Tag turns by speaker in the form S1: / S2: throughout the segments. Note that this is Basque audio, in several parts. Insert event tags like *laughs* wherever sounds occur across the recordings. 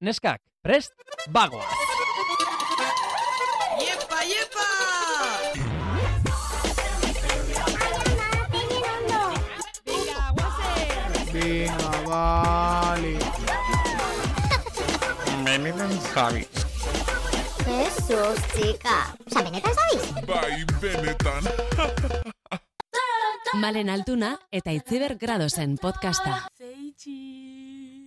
S1: Neskak, prest, bagoa!
S2: Iepa, iepa!
S3: Venga, vale.
S4: Jesus, txika. Osa, benetan zabiz?
S5: Malen Altuna eta Itziber Gradosen podcasta.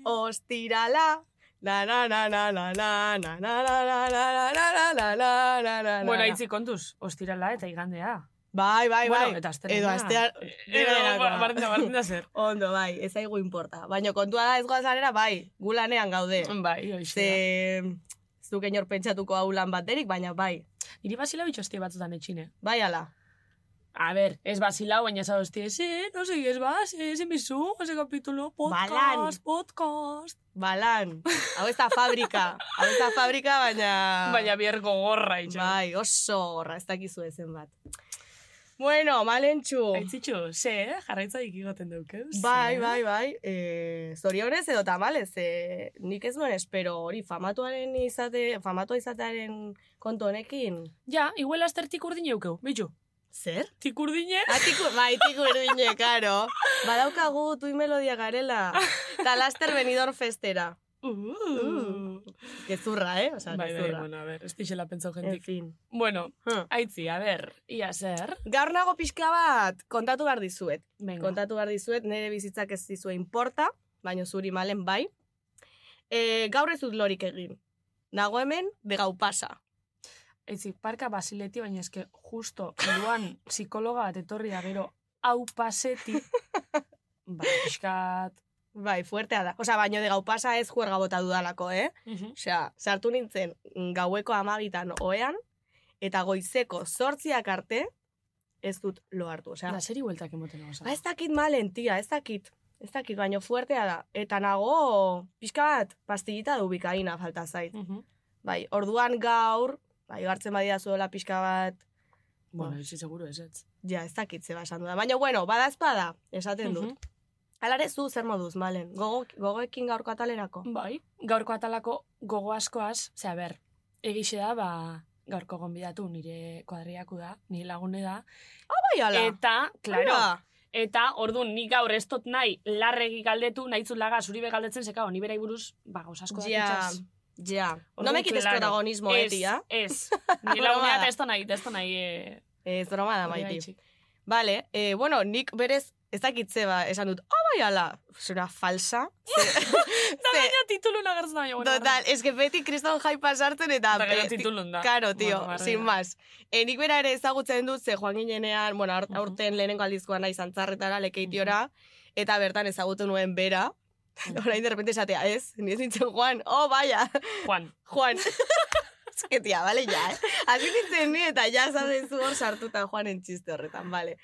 S2: Ostirala. La la la la la la la la la la la la la la la la la la
S6: Bueno, itzi kontuz, ostirala eta igandea.
S2: Bai, bai, bai.
S6: Bueno, eta Eh, astelena.
S2: Edo astea...
S6: Edo, bardin da, bardin da
S2: *laughs*
S6: zer.
S2: Ondo, bai, ez aigu importa. Baina kontua da ez goazanera, bai, gulanean gaude.
S6: Bai, oixe. da.
S2: Ze, ez duk inor pentsatuko hau lan baterik, baina bai.
S6: Iri basila bitxosti batzutan etxine.
S2: Bai, ala.
S6: A ber, ez basila, baina ez adosti, ez, no sé, ez bas, eh, ez emizu, ez kapitulo, podcast,
S2: Balan.
S6: podcast.
S2: Balan. Ba,
S6: *laughs*
S2: Hau ez da fabrika. Hau ez da fabrika, baina...
S6: Baina bierko gorra, itxo.
S2: Bai, oso gorra, ez dakizu ezen bat. Bueno, malentxu.
S6: Aitzitxu, ze, eh, jarraitza ikigoten daukeuz.
S2: Bai, bai, bai. E, zorionez edo tamales, e, nik ez nuen espero hori famatuaren izate, famatua izatearen kontu honekin.
S6: Ja, igual azter tikurdine eukeu, bitxu.
S2: Zer?
S6: Tikurdine?
S2: Atiku, bai, tiku erdine, karo. Badaukagu tui melodia garela. Ta laster benidor festera.
S6: Uh.
S2: Gezurra, eh? Osa,
S6: Bai, bai,
S2: gezurra.
S6: bueno, a ber, ez dixela pentsau
S2: en
S6: jentik.
S2: fin.
S6: Bueno,
S2: Huh.
S6: aitzi, a ber, ia zer.
S2: Gaur nago pixka bat kontatu behar dizuet.
S6: Venga.
S2: Kontatu behar dizuet, nire bizitzak ez dizue inporta, baino zuri malen bai. E, gaur ez dut lorik egin. Nago hemen, de gau pasa.
S6: Eitzi, parka basileti, baina eske justo duan psikologa bat etorri da gero hau *laughs* paseti. ba, pixkat.
S2: Bai, fuertea da. Osea, baino de gau pasa ez juerga bota dudalako, eh?
S6: Mhm.
S2: Osea, sartu nintzen mm, gaueko amabitan oean, eta goizeko zortziak arte, ez dut lo hartu. Osea,
S6: Da, seri hueltak emoten osa.
S2: ba, ez dakit malen, tia, ez dakit. Ez dakit, baino fuertea da. Eta nago, pixka bat, pastillita du bikaina falta zait.
S6: Mhm.
S2: Bai, orduan gaur, bai, hartzen badia zuela pixka bat,
S6: Bueno, itzi seguro ez ez.
S2: ja, ez dakit zeba esan dudan. Baina, bueno, bada espada,
S6: Mhm.
S2: esaten dut. Alare zu zer moduz, malen, gogo, gogoekin gaurko atalerako.
S6: Bai, gaurko atalako gogo askoaz, ze a ber, egixe da, ba, gaurko gonbidatu nire kuadriaku da, nire lagune da.
S2: Bai, ala.
S6: Eta, klaro,
S2: Ala.
S6: Eta, orduan, nik gaur ez dut nahi larregi galdetu, nahi zut laga zuri begaldetzen, zeka honi berei buruz, ba, gauz asko
S2: Ja,
S6: dakitzaz.
S2: ja. No
S6: Orduan,
S2: me quites
S6: claro.
S2: protagonismo, eh, tia.
S6: Ez,
S2: *laughs*
S6: ez. Ni
S2: Broma Ah,
S6: lagunea
S2: da.
S6: eta ez da nahi, ez da nahi. Eh,
S2: Ez broma da,
S6: hori
S2: maiti.
S6: gaitxik.
S2: Vale, eh, bueno, nik berez, ez dakitze ba, esan dut, oh, bai, ala, zura falsa.
S6: Da gaina titulun agertzen da, baina, bueno.
S2: Total, es que beti kriston jaipa sartzen eta...
S6: Eta gero
S2: eh, ti-
S6: titulun da.
S2: Karo, tio,
S6: Bueno, barrera.
S2: sin más. E, nik bera ere ezagutzen dut, ze joan ginenean, bueno, aur-
S6: Mhm.
S2: aurten lehenengo aldizkoan nahi zantzarretara, lekeitiora, eta bertan ezagutu nuen bera. *laughs* Orain de repente esatea, ez, ni ez nintzen Juan, oh, vaya,
S6: Juan.
S2: Juan. *laughs* Es que tia, vale, ya, eh. Asi nintzen ni eta ja zabezu hor sartuta Juan entxiste horretan, vale.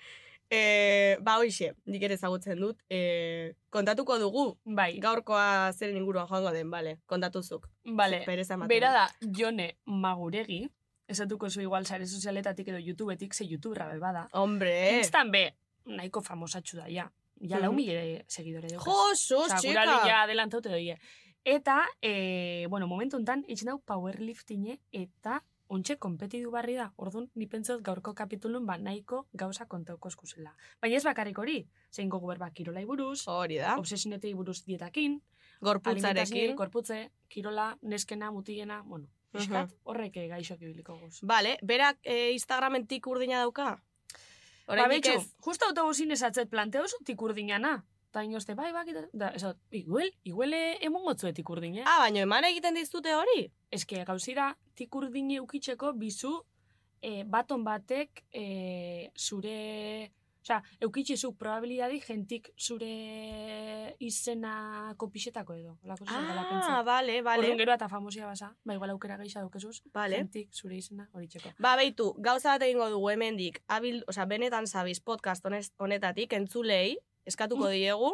S2: E, ba, hoxe, nik ere ezagutzen dut, e, kontatuko dugu,
S6: Bai,
S2: gaurkoa zeren inguruan joango den, vale, kontatuzuk.
S6: bale.
S2: Pereza ematen
S6: Bera
S2: dit.
S6: da, Jone Maguregi, esatuko zu igual sare sozialetatik edo YouTubetik, ze YouTubera be bada.
S2: Hombre, eh.
S6: Instan be, nahiko famosatxu da, ja. Ja, lau
S2: Mhm.
S6: mila eh, segidore dugu.
S2: Jo, sus,
S6: Osa,
S2: chica.
S6: gura lila adelantaute doie. Eta, e, bueno, momentu enten, itxen dau powerliftinge eta ontxe kompetidu barri da. Orduan, ni pentsot gaurko kapitulun ba nahiko gauza kontauko eskuzela. Baina ez bakarrik hori, zein gogu berba kirolai buruz,
S2: Hori da,
S6: obsesinetei buruz dietakin, alimentazioei,
S2: gorputzarekin.
S6: korputze, kirola, neskena, mutilena, bueno, pixkat, horrek eh, gaixoak ibiliko guz.
S2: Vale, berak eh, Instagramen tik urdina dauka?
S6: Ba,
S2: Oraindik
S6: betxo,
S2: ez?
S6: justo autobusin esatzet planteo zutik urdinana. Ta inoste, bai, bai, da, esat, iguel, iguel emongotzuetik urdine.
S2: Ah, baino eman egiten dizute hori?
S6: eske gauzi da, tikurdine eukitzeko bizu eh, baton batek eh, zure... Osa, eukitzezu probabilidadi jentik zure izena kopixetako edo. Olako zerbait dela
S2: Ah,
S6: pentsa.
S2: vale, vale.
S6: Orduan gero eta famosia basa, ba igual aukera geisa daukezuz,
S2: Vale.
S6: jentik zure izena hori txeko.
S2: Ba, beitu, gauza bat egingo dugu hemendik, abil, oza, benetan zabiz podcast honez- honetatik, entzulei, eskatuko *laughs* diegu,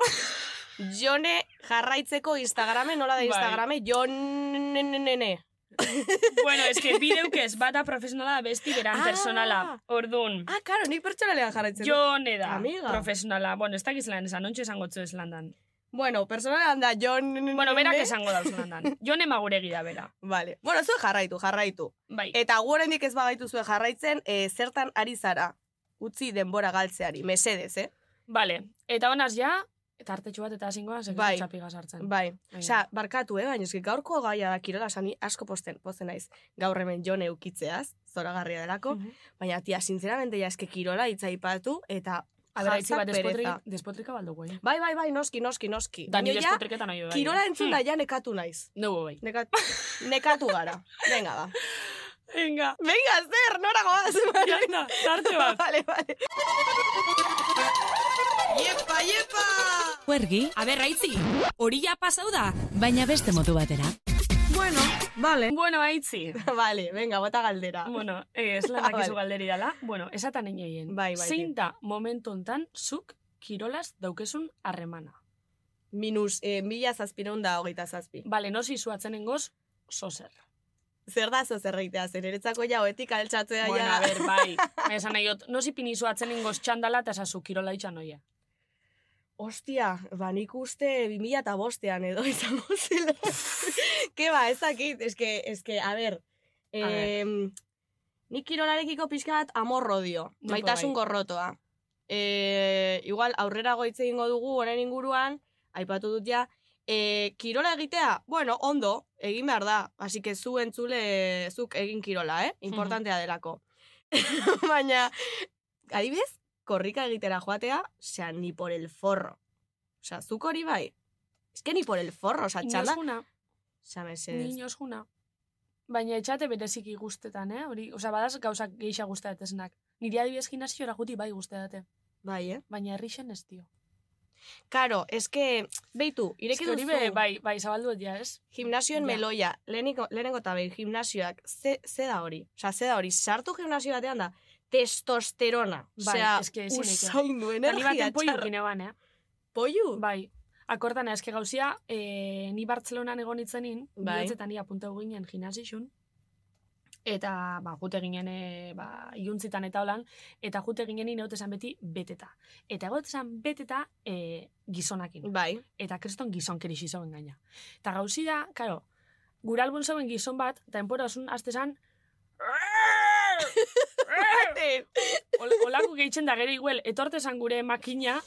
S2: jone jarraitzeko Instagramen, nola da
S6: Bai.
S2: Instagrame, jonenenene.
S6: bueno, eske bideukez, bata profesionala besti beran
S2: Ah.
S6: personala. Orduan,
S2: Ah, karo, nik pertsonalean jarraitzen. dut.
S6: jone da
S2: Amiga.
S6: profesionala. Bueno, ez dakiz lan esan, ontsa esango tzu ez landan.
S2: Bueno, personalan da, Jon...
S6: Bueno,
S2: bai.
S6: berak esango dauzun handan. Jone maguregi da bera.
S2: Vale. Bueno, zuen jarraitu, jarraitu.
S6: Bai.
S2: Eta gurendik ez bagaitu zuen jarraitzen, eh, zertan ari zara. Utzi denbora galtzeari, mesedez, eh?
S6: Vale. Eta honaz ja, eta artetxu bat eta hasingoa, sekretu
S2: Bai.
S6: txapiga sartzen.
S2: Bai.
S6: Venga.
S2: Osea, barkatu, eh? Baina eski gaurko gaia da kirola sani asko posten, pozen naiz. Gaur hemen jone eukitzeaz, zoragarria delako.
S6: Mhm.
S2: Baina, tia, sinceramente, ja eske kirola hitzaipatu eta...
S6: A ber, haitzi bat
S2: hashtag
S6: despotri,
S2: pereza.
S6: despotrika baldu eh? guai.
S2: Bai, bai, bai, noski, noski, noski.
S6: Dani
S2: Baina ja,
S6: despotriketan nahi bai.
S2: kirola entzun da, ja nekatu naiz.
S6: Dugu bai.
S2: Nekat, nekatu gara. Venga, ba.
S6: Venga,
S2: Venga, zer, nora *laughs* goaz?
S6: janda, tarte
S2: *laughs*
S6: bat.
S2: Vale, vale. Yepa, yepa!
S5: Huergi,
S7: Aber, raitzi, hori ja pasau da.
S5: baina beste modu batera.
S2: Bueno, vale.
S6: Bueno, haitzi.
S2: Vale, venga, bota galdera.
S6: Bueno, eh, ez lanak
S2: *laughs* Ah,
S6: izu
S2: vale.
S6: galderi dala. Bueno, esatan inoien.
S2: Bai, bai,
S6: Zein da momentu hontan zuk kirolaz daukezun harremana?
S2: Minus, eh, mila zazpireun da hogeita zazpi.
S6: Bale, nosi zuatzen engoz, zozer.
S2: Zer da zo zer egitea zen, eretzako ja hoetik altxatzea
S6: Bueno,
S2: ja.
S6: a ber,
S2: *laughs*
S6: bai. Esan nahi dut, nosi pini zuatzen engoz txandala eta esazu kirola itxan oia.
S2: Ostia, ba nik uste 2000 eta bostean edo *laughs* izango
S6: *laughs*
S2: zela. Ke ba, ez dakit, eske, eske, a ber,
S6: A ber.
S2: em, nik kirolarekiko pixka bat amorro dio,
S6: Tipo
S2: maitasun
S6: bai.
S2: gorrotoa. E, igual, aurrera goitze egingo dugu, honen inguruan, aipatu dut ja, e, kirola egitea, bueno, ondo, egin behar da, hasi que zu entzule, zuk egin kirola, eh? Importantea delako. *laughs* Baina, adibidez, korrika egitera joatea, osea, ni por el forro. Osea, zuk hori bai. Ez que ni por el forro, osea, txanda.
S6: Inoz
S2: Osea, mesedez.
S6: Niños juna. Baina etxate bereziki gustetan, eh? Hori, osea, badaz gauzak geixa gustatetezenak. Nire adibidez gimnasiora guti bai gustate
S2: Bai, eh?
S6: baina herrixen ez dio.
S2: Karo, ez que, beitu,
S6: Ez
S2: ireki
S6: que hori
S2: duzu,
S6: be, bai, bai, zabaldu dut ja, ez?
S2: gimnasioen
S6: Ja.
S2: meloia, leheniko, lehenengo eta behin, gimnasioak, ze, ze da hori? Osea, ze da hori, sartu gimnasio batean da, testosterona.
S6: Bai,
S2: Osea,
S6: ez que ezin ekin.
S2: usaindu
S6: Ni
S2: energia,
S6: baten
S2: txarra.
S6: poiukin eban, eh?
S2: Poiu?
S6: Bai. Akordan, eske gauzia, eh, ni Bartzelonan egon nitzenin,
S2: Bai.
S6: bai. ni apunta ginen gimnasixun, eta, ba, jute ginen, eh, ba, iuntzitan eta holan, eta jute ginen ni esan beti beteta. Eta egot esan beteta eh, gizonakin.
S2: Bai,
S6: Eta kriston gizon kerixi zauen gaina. Eta gauzi da, karo, gure albun zauen gizon bat, eta enpora osun, azte zan, Ol, olako gehitzen da gero iguel, etorte zan gure makina,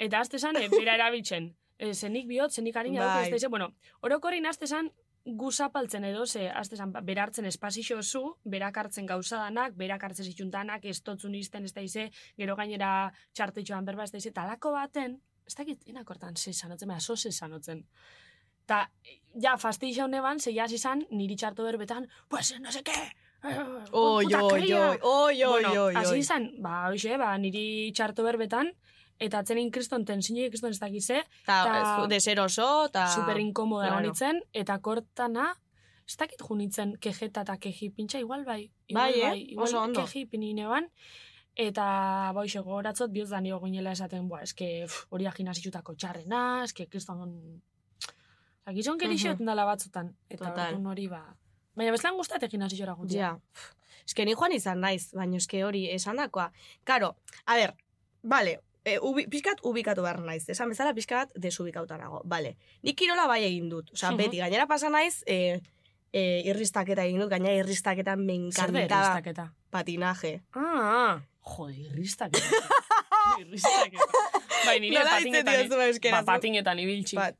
S6: eta azte zan, e, bera erabiltzen. E, zenik bihot, zenik harina
S2: Bai.
S6: bai. dut, bueno, orokorin azte zan, guzapaltzen edo, ze, azte zan, berartzen espazio zu, berak hartzen gauza danak, berak hartzen zitxuntanak, ez totzun izten, ez da ize, gero gainera txartetxoan berba, ez da ize, talako baten, ez dakit, enakortan, ze sanotzen, mea, soze sanotzen. Ta, ja, fastidixo honeban, ze jaz izan, niri txarto berbetan, pues, no sé qué, eh,
S2: oi,
S6: puta
S2: oi,
S6: cría,
S2: oi, oi, oi,
S6: bueno,
S2: oi,
S6: hasi
S2: oi.
S6: izan, ba, hoxe, ba, niri txarto berbetan, eta atzenin kriston tensiño, kriston ez dakize,
S2: Ta, eh,
S6: Ta-
S2: zu- deseroso, ta...
S6: super inkomoda
S2: Ah, claro.
S6: claro. nintzen, eta kortana, ez dakit jo nintzen kejeta eta keji pintxa, igual bai, igual
S2: Bai, eh?
S6: igual
S2: Oso ondo.
S6: keji pinine ban, eta, ba, hoxe, gogoratzot, bihotz da nio ginela esaten, ba, eske, pff, hori aginazitzutako txarrena, eske, kriston, Osa, gizon kerixioten dala batzutan, eta
S2: Total.
S6: orduan hori, ba, Baina bezlan gustate gimnasiora gutia.
S2: Ja. Eske ni joan izan naiz, baina eske hori esandakoa. Karo, a ber, vale, e, ubi, pixkat ubikatu behar naiz. Esan bezala pixkat desubikauta nago. Vale, nik kirola bai egin dut. Osa,
S6: Mhm.
S2: beti, gainera pasa naiz, e, e, irristaketa egin dut, gainera irristaketan me
S6: Zer da
S2: encantaba
S6: erriztaketa?
S2: patinaje.
S6: Ah, jode, irristak.
S2: *laughs*
S6: irristak. Bai, nire
S2: Nola ditzen
S6: patinetan,
S2: diozu euskeraz?
S6: ba, patinetan ibiltzi.
S2: Pat-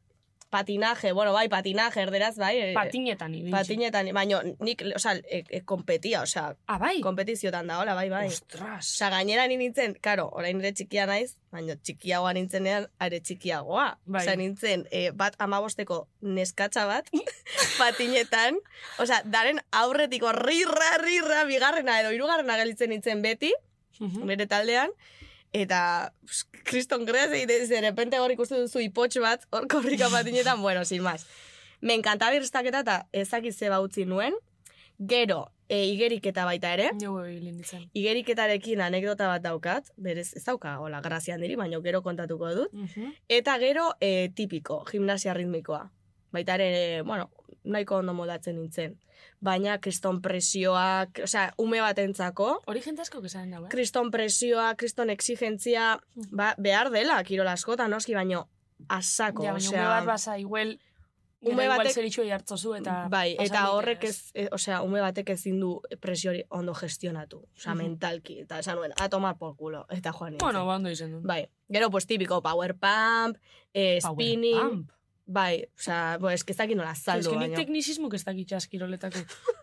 S2: patinaje, bueno, bai, patinaje, erderaz, bai. e,
S6: patinetan ibiltzi.
S2: Patinetan, baina nik, osea, e, e, kompetia, osea,
S6: Ah, bai?
S2: kompetiziotan da, hola, bai, bai.
S6: Ostras.
S2: Osa, gainera ni nintzen, karo, orain ere txikia naiz, baina txikiagoa nintzenean are txikiagoa.
S6: Bai.
S2: Osa, nintzen, eh, bat amabosteko neskatxa bat, patinetan, osa, daren aurretiko rirra, rirra, bigarrena edo hirugarrena gelitzen nintzen beti,
S6: Mhm.
S2: nire taldean, eta pues, kriston greaz egiten zen, repente hor ikusten duzu ipotx bat, hor korrika patinetan, bueno, sin más. Me encantaba irstaketa eta ezakitze bautzi ba nuen, gero, e, igeriketa baita ere,
S6: Jo, bai, linditzen.
S2: igeriketarekin anekdota bat daukat, berez ez dauka, hola, grazia handiri, baina gero kontatuko dut.
S6: Mhm.
S2: Eta gero e, tipiko, gimnasia ritmikoa. Baita ere, e, bueno, nahiko ondo modatzen nintzen. Baina kriston presioak, osea, ume batentzako,
S6: Hori jente asko kesaren dago, eh?
S2: kriston presioa, kriston exigentzia, ba, behar dela, kirol askotan, noski, baino, asako.
S6: Ja, baina ume bat basa, igual,
S2: Ume
S6: ume igual
S2: batek-
S6: zeritxu hartzozu eta...
S2: bai,
S6: pasa
S2: eta
S6: daiteke,
S2: horrek
S6: ez?
S2: ez, e, osea, ume batek ezin du presio hori ondo gestionatu. Osea,
S6: Mhm.
S2: mentalki. Eta esan nuen, a tomar por culo. Eta joan nintzen.
S6: Bueno, ba, ondo izen Ba, duen.
S2: Bai, gero, pues, típico power pump, eh,
S6: Power
S2: spinning.
S6: pump.
S2: Bai, osea, bo, eske ez dakit nola
S6: Eske
S2: saldu
S6: nik
S2: baina.
S6: teknisismuk ez dakit askiroletako.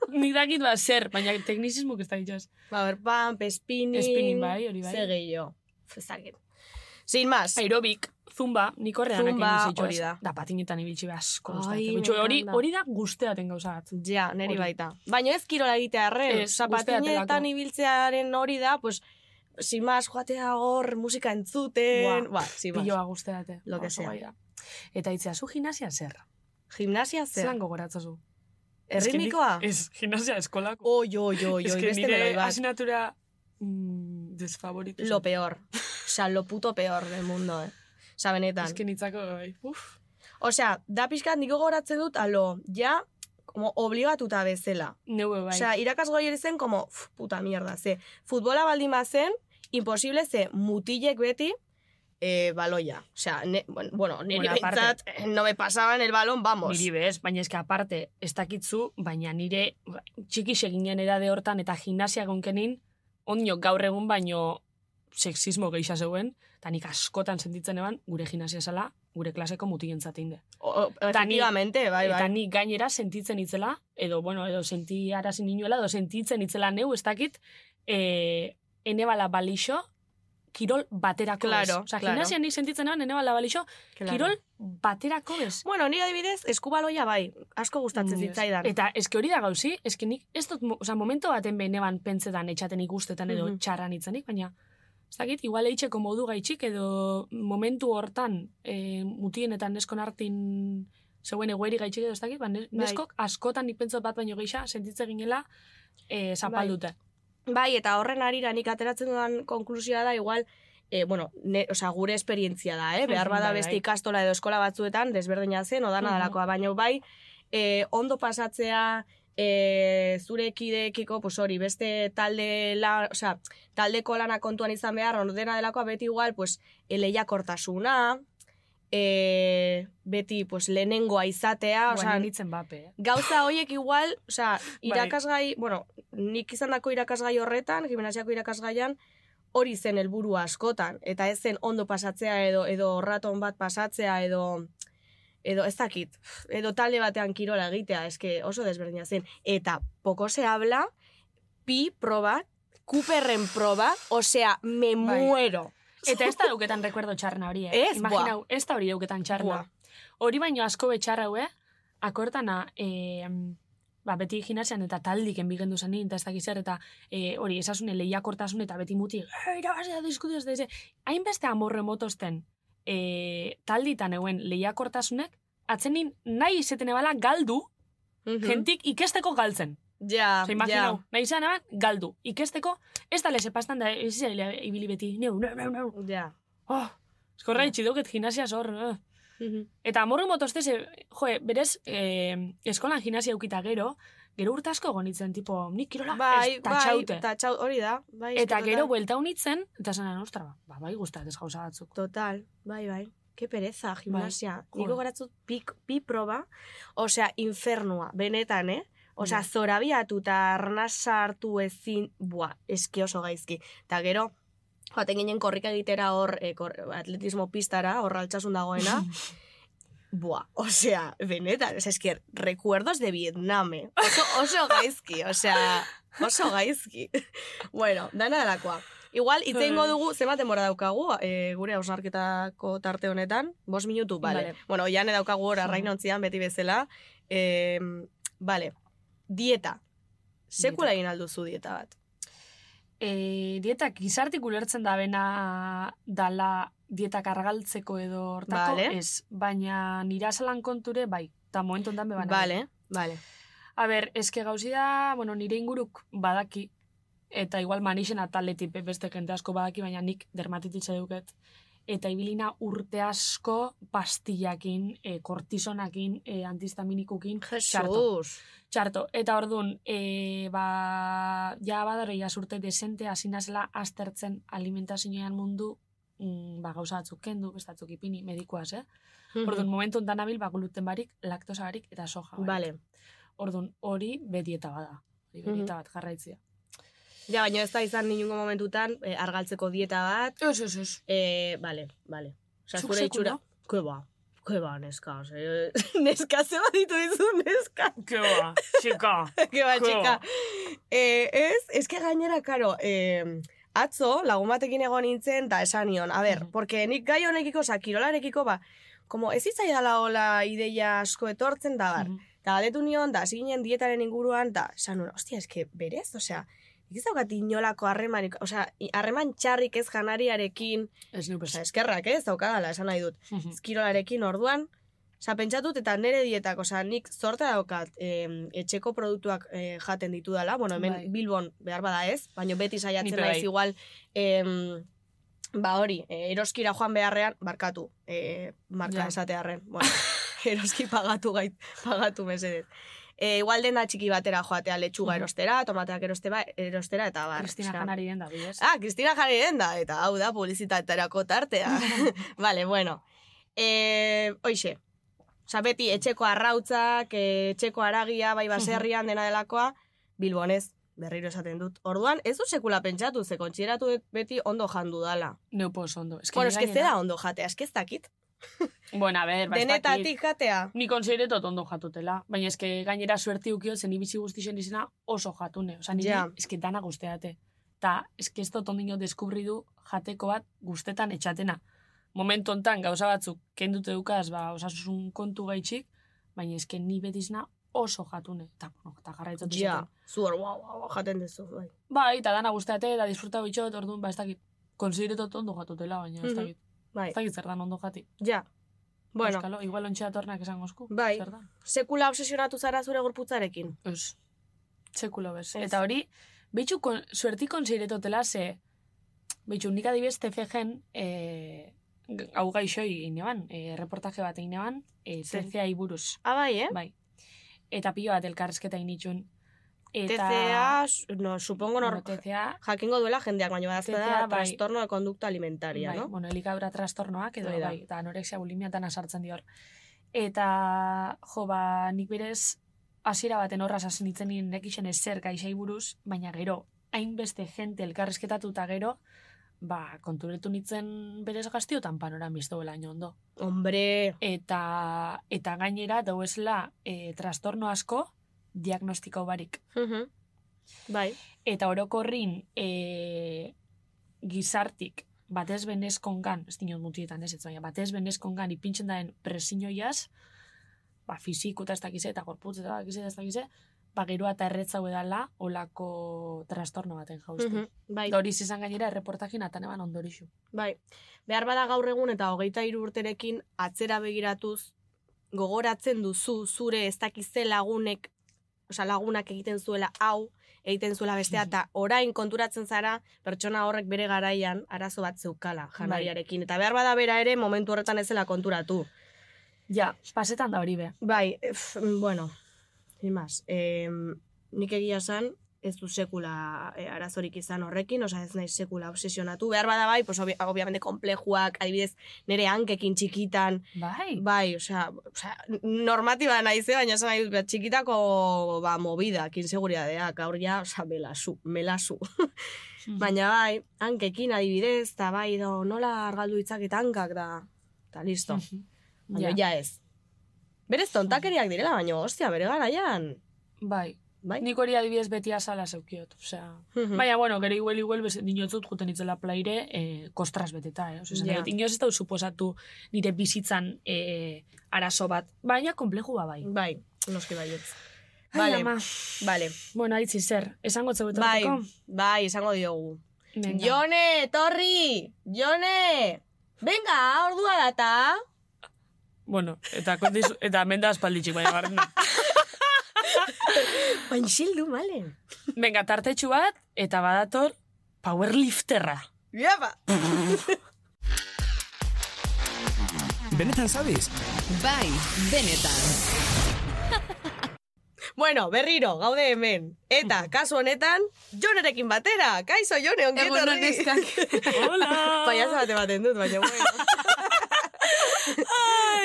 S6: nik dakit ba zer, baina teknisismuk ez dakit jaz.
S2: Power pump, spinning.
S6: Spinning, bai, hori bai.
S2: Ze gehiago. Ez dakit. Sin más.
S6: Aerobik, zumba, nik horrean
S2: Zumba,
S6: zumba,
S2: hori da.
S6: Da patinetan ibiltzi be asko
S2: Ai,
S6: gustatzen.
S2: me
S6: Bitxo, Hori,
S2: encanta.
S6: hori da guzteaten gauza bat.
S2: Ja, neri
S6: Hori.
S2: baita. Baina ez kirola egitea erren.
S6: Ez,
S2: Osa,
S6: guztia
S2: patinetan
S6: delako.
S2: ibiltzearen hori da, pues, sin más, joatea hor, musika entzuten.
S6: Buah,
S2: Ba, sin más.
S6: Biloa guzteate.
S2: Lo que
S6: Oso
S2: sea.
S6: guai da. Eta itzea, zu gimnasia zer?
S2: Gimnasia zer?
S6: Zelan gogoratzazu?
S2: Erritmikoa?
S6: Ez, gimnasia eskolako.
S2: Oi, oi, oi,
S6: Ez
S2: oi,
S6: que
S2: beste meloi
S6: nire
S2: bat.
S6: asignatura mm, desfavoritu.
S2: Lo peor. Osa, lo puto peor del mundo, eh. Osa, benetan.
S6: Ez que nitzako, bai, uf.
S2: Osea, da pixkat niko gogoratzen dut, alo, ja, como obligatuta bezala.
S6: Neue bai.
S2: Osea, irakasgoi hori zen, como, "Uf, puta mierda, ze. Futbola baldin bazen, imposible, ze, mutilek beti, eh, baloia. Osea, ne, bueno, bueno, niri
S6: Bueno, aparte-
S2: behintzat, eh, no me pasaban el balón, vamos.
S6: Niri bez, baina eske aparte, ez dakitzu, baina nire ba, txiki seginen edade hortan eta gimnasia gonkenin, ondio gaur egun baino sexismo geisha zeuen, eta nik askotan sentitzen eban, gure gimnasia zela, gure klaseko mutien zatinde.
S2: O, o,
S6: Eta ni-
S2: efectivamente, bai,
S6: Eta
S2: bai.
S6: nik gainera sentitzen itzela, edo, bueno, edo sentiarazin inuela, edo sentitzen itzela neu, ez dakit, e, ene bala balixo, kirol baterako
S2: Claro,
S6: ez. Osa,
S2: claro.
S6: gimnasia nik sentitzen eban, ene bala balixo, kirol baterako ez.
S2: Bueno, nire adibidez, eskubaloia bai, asko gustatzen
S6: Yes.
S2: zitzaidan.
S6: Eta eske hori da gauzi, eske nik ez dut, mo- osea, momento baten behin eban pentsetan etxaten ikustetan edo
S2: Mhm.
S6: txarran itzanik, baina ez dakit, igual eitzeko modu gaitxik edo momentu hortan e, mutienetan neskon hartin zeuen egoeri gaitxik edo ez dakit, baina
S2: Bai.
S6: neskok askotan nipentzot bat baino geisha sentitze ginela e, zapalduta.
S2: Bai, eta horren arira nik ateratzen dudan konklusioa da igual, e, bueno, ne, osea, gure esperientzia da, eh? behar
S6: Mhm,
S2: bada
S6: bai,
S2: beste
S6: bai.
S2: ikastola edo eskola batzuetan, desberdina zen, odana
S6: Mhm.
S2: dalakoa, baina bai, e, ondo pasatzea, e, zure kidekiko, pues hori, beste talde la, osea, taldeko lana kontuan izan behar, ordena delakoa beti igual, pues, eh, eleiakortasuna, e, beti, pues, lehenengoa izatea,
S6: Ba,
S2: Ah, osea,
S6: nintzen bape, eh?
S2: Gauza hoiek igual, osea, irakasgai,
S6: Bai.
S2: bueno, nik izandako irakasgai horretan, gimnasiako irakasgaian, hori zen helburua askotan, eta ez zen ondo pasatzea edo edo raton bat pasatzea edo edo ez dakit, edo talde batean kirola egitea, eske oso desberdina zen. Eta poco se habla, pi proba, Cooperren proba, osea,
S6: Bai.
S2: me muero.
S6: Eta ez da dauketan rekuerdo txarna hori, eh?
S2: Ez,
S6: Imaginau, ez da hori dauketan txarna.
S2: Buah.
S6: Hori baino asko betxarra haue, akortana, e, ba, beti gimnasian eta taldik enbigendu zen nien, eta ez dakiz zer, eta e, hori esasune lehiakortasun eta beti muti, "Eh, irabazi da diskutio ez da ize. Hainbeste amorre motosten, e, talditan euen lehiakortasunek, atzenin nahi izeten ebala galdu,
S2: Mhm.
S6: jentik ikesteko galtzen.
S2: ja,
S6: Osa, imaginau, nahi izan eban, galdu. Ikesteko, ez da lese pastan da, ez zela ibili beti, neu, neu, neu, neu.
S2: ja, ja.
S6: Oh, eskorra itxi duket gimnasia zor. eh.
S2: Mhm.
S6: Eta amorru motostez, eh, jo, berez, eh, eskolan gimnasia eukita gero, gero urte asko gonitzen, tipo, nik kirola
S2: Bai,
S6: ez
S2: bai,
S6: tatxaute.
S2: tatxau, hori da. Bai, eske
S6: eta gero
S2: total.
S6: buelta unitzen, eta zanan, ostra, ba, ba, bai gustatez gauza batzuk.
S2: Total, bai, bai. Ke pereza, gimnasia.
S6: joder.
S2: Niko goratzut bi, bi proba, osea, infernua, benetan, eh? Osea,
S6: Ja.
S2: zorabiatu eta arnasa hartu ezin, bua, eski oso gaizki. Eta gero, joaten ginen korrika egitera hor, eh, kor, atletismo pistara, hor altsasun dagoena, Buah, osea, benetan, osea, esker, recuerdos de Vietnam, eh? oso, oso gaizki, osea, oso gaizki. *laughs* bueno, dana dalakoa. Igual, itzengo dugu, zenbat denbora daukagu, eh, gure ausnarketako tarte honetan, bost minutu, bale.
S6: Vale.
S2: Bueno, jane daukagu hor
S6: Mhm.
S2: arrainontzian beti bezala. Eh, bale, dieta. Sekula egin alduzu dieta bat.
S6: E, dietak gizartik ulertzen da bena dala dietak argaltzeko edo hortako,
S2: Vale.
S6: ez, baina nira azalan konture, bai, eta momentu ondan beban.
S2: Bale, bale.
S6: A ber, eske gauzi da, bueno, nire inguruk badaki, eta igual manixen ataletik beste jente asko badaki, baina nik dermatititza duket. Eta ibilina urte asko pastillakin, e, kortisonakin, e, antistaminikukin, txarto.
S2: Jesus.
S6: Txarto. Eta orduan, e, ba, ja badaroi urte desente, hasi nazela aztertzen alimentazioan mundu mm, ba, gauza batzuk kendu, bestatzuk ipini, medikuaz, eh?
S2: Mhm.
S6: Orduan, momentu ondan abil, ba, gluten barik, laktosa barik eta soja barik.
S2: Vale.
S6: Orduan, hori bedieta bada. Hori bedieta
S2: Mhm.
S6: bat jarraitzia.
S2: Ja, baina ez da izan ningún momentutan eh, argaltzeko dieta bat.
S6: Ez, ez, ez.
S2: Eh, vale, vale. Osa,
S6: Zuk
S2: zure
S6: sekula?
S2: itxura. Kueba. Kueba, ba, neska. Ose, eh, *laughs* neska ze bat ditu dizu, neska.
S6: Keba, txika.
S2: *laughs* Kueba,
S6: Keba.
S2: txika. Eh, ez, ez que gainera, karo, eh, atzo, lagun batekin egon nintzen, da esan nion. A ber,
S6: Mhm.
S2: porque nik gai honekiko, osa, kirolarekiko, ba, como ez itzaidala hola ideia asko etortzen
S6: Mhm.
S2: da, bar. Eta galdetu nion, da, hasi ginen dietaren inguruan, da, esan nuen, ostia, eske berez, osea, nik ez daukat inolako harremanik, osea, i- harreman txarrik ez janariarekin,
S6: Ez Mhm. neu besa.
S2: osea, eskerrak ez daukadala, esan nahi dut,
S6: Mm.
S2: ezkirolarekin orduan, osea, pentsatut eta nire dietak, osea, nik zorte daukat em, etxeko produktuak eh, jaten ditudala, bueno, hemen
S6: Bai.
S2: Bilbon behar bada ez, baina beti saiatzen
S6: Nipe
S2: naiz
S6: bai.
S2: igual, em, ba hori, eh, eroskira joan beharrean, barkatu, eh, marka
S6: Ja.
S2: esatearren,
S6: *laughs*
S2: bueno, eroski pagatu gait, pagatu mesedez. E, igual denda txiki batera joatea letxuga
S6: Mhm.
S2: erostera, tomateak erosteba, erostera eta bar.
S6: Kristina
S2: osea.
S6: janari den da, bidez.
S2: Ah, Kristina Jari denda, eta hau da publizitaterako
S6: *laughs*
S2: tartea. vale, bueno. E, oixe, Osa, beti etxeko arrautzak, eh, etxeko aragia, bai baserrian dena delakoa, Bilbonez, berriro esaten dut. Orduan, ez du sekula pentsatu, ze kontsideratu dut beti ondo jandu dala.
S6: Neu pos ondo. Ez
S2: Bueno, eske zera ondo jatea, eske ez dakit.
S6: Bueno, a ber, ba, ez dakit.
S2: Denetatik jatea.
S6: Ni konsideretot ondo jatutela, baina eske gainera suerti ukio zen ibizi guztixen izena oso jatune. Osa, nire
S2: Ja.
S6: eske dana guzteate. Ta eske ez dut ondino deskubridu jateko bat guztetan etxatena. Momentu hontan gauza batzuk kendute dukaz, ba, osasun kontu gaitxik, baina eske ni betizna oso jatune. Ta, bueno, ta jarraitzot
S2: Ja, zuor, wow, wow, jaten duzu. Bai.
S6: Bai, eta dana guzteate, eta disfruta bitxot, orduan, ba, ez dakit. Konsideretot ondo jatutela, baina ez
S2: Mhm.
S6: dakit.
S2: Bai,
S6: Ez dakit zer dan ondo jati.
S2: ja. Bueno,
S6: Euskalo, igual ontsia datornak esango esku.
S2: Bai.
S6: Zer dan?
S2: sekula obsesionatu zara zure gorputzarekin.
S6: Ez. Txekulo bez.
S2: Ez.
S6: Eta hori, bitxu kon, suerti konsiretotela ze, bitxu, nik adibidez TFG-en e, hau gaixo egin eban, e, reportaje bat egin eban, e,
S2: Zer?
S6: TCA buruz.
S2: Ah, bai, eh?
S6: Bai. Eta pilo bat elkarrezketa egin itxun. Eta,
S2: TCA, su- no, supongo
S6: bueno,
S2: nor,
S6: TCA,
S2: jakingo duela jendeak, baina badazta da
S6: TCA, bai.
S2: trastorno de conducta alimentaria,
S6: bai,
S2: no?
S6: bueno, elikadura trastornoak edo,
S2: Hori da.
S6: bai, eta anorexia bulimia tan asartzen dior. Eta, jo, ba, nik berez, hasiera baten horraz hasi nintzen nien nekixen ezer gaixai buruz, baina gero, hainbeste jente elkarrezketatuta gero, ba, konturetu nintzen berez gaztiotan panoran biztoela ondo.
S2: Hombre,
S6: Eta, eta gainera, dauezela, e, trastorno asko, diagnostiko barik.
S2: mhm. bai,
S6: Eta orokorrin e, gizartik batez benezkongan, ez dinot mutietan ez, ez baina batez benezkongan ipintzen daen presinioiaz, ba, fiziko eta ez dakize, eta gorputz eta dakize, ez dakize, ba, geroa eta erretzau edala olako trastorno baten jauztu.
S2: mhm,
S6: Mm
S2: bai,
S6: Doriz izan gainera erreportajin atan eban ondorixu.
S2: bai. Behar bada gaur egun eta hogeita hiru urterekin atzera begiratuz gogoratzen duzu zure ez dakize lagunek, osea lagunak egiten zuela hau, egiten zuela bestea, eta orain konturatzen zara pertsona horrek bere garaian arazo bat zeukala janariarekin. Eta behar bada bera ere momentu horretan ez zela konturatu.
S6: Ja, pasetan da hori be.
S2: Bai, ef, bueno, sin más. Eh, nik egia esan, ez du sekula eh, arazorik izan horrekin, osa ez naiz sekula obsesionatu. Behar bada bai, pues, obvia- obviamente, komplejuak, adibidez, nire hankekin txikitan,
S6: Bai.
S2: bai, osea, osea normatiba naiz, eh, baina esan nahi dut, ba, txikitako, ba, movidak, inseguridadeak, gaur ja, osea, melazu, melazu.
S6: Mm.
S2: Baina bai, hankekin adibidez, eta bai, do, nola argaldu ditzaket hankak da, eta listo.
S6: Mhm.
S2: Baina ja ez. Berez tontakeriak direla, baina ostia, bere garaian.
S6: Bai.
S2: Bai.
S6: Nik hori adibidez beti azala zeukiot, osea...
S2: Mhm.
S6: Baina, bueno, gero igual, igual, bez- dinotzut juten itzela plaire, eh, kostras beteta, eh? Ose,
S2: Ja.
S6: yeah. Inoz ez da suposatu nire bizitzan eh, arazo bat, baina kompleju ba bai.
S2: Bai, noski baiet.
S6: Ai,
S2: Vale,
S6: ama.
S2: vale.
S6: Bueno, aitzi zer, esango tzebetu
S2: Bai, bai, izango diogu.
S6: Venga.
S2: Jone, etorri! Jone! Venga, ordua data!
S6: Bueno, eta, kontiz, eta menda aspalditxik baina barrena.
S2: Bain xildu, male.
S6: Venga, tartetxu bat, eta badator, powerlifterra.
S2: Biapa!
S1: Benetan zabiz?
S5: Bai, benetan.
S2: Bueno, berriro, gaude hemen. Eta, kasu honetan, jonerekin batera. Kaixo, jone, ongi
S8: Egun
S2: etorri.
S8: honezkak.
S6: Hola!
S2: Paiaza bat ematen dut, baina bueno.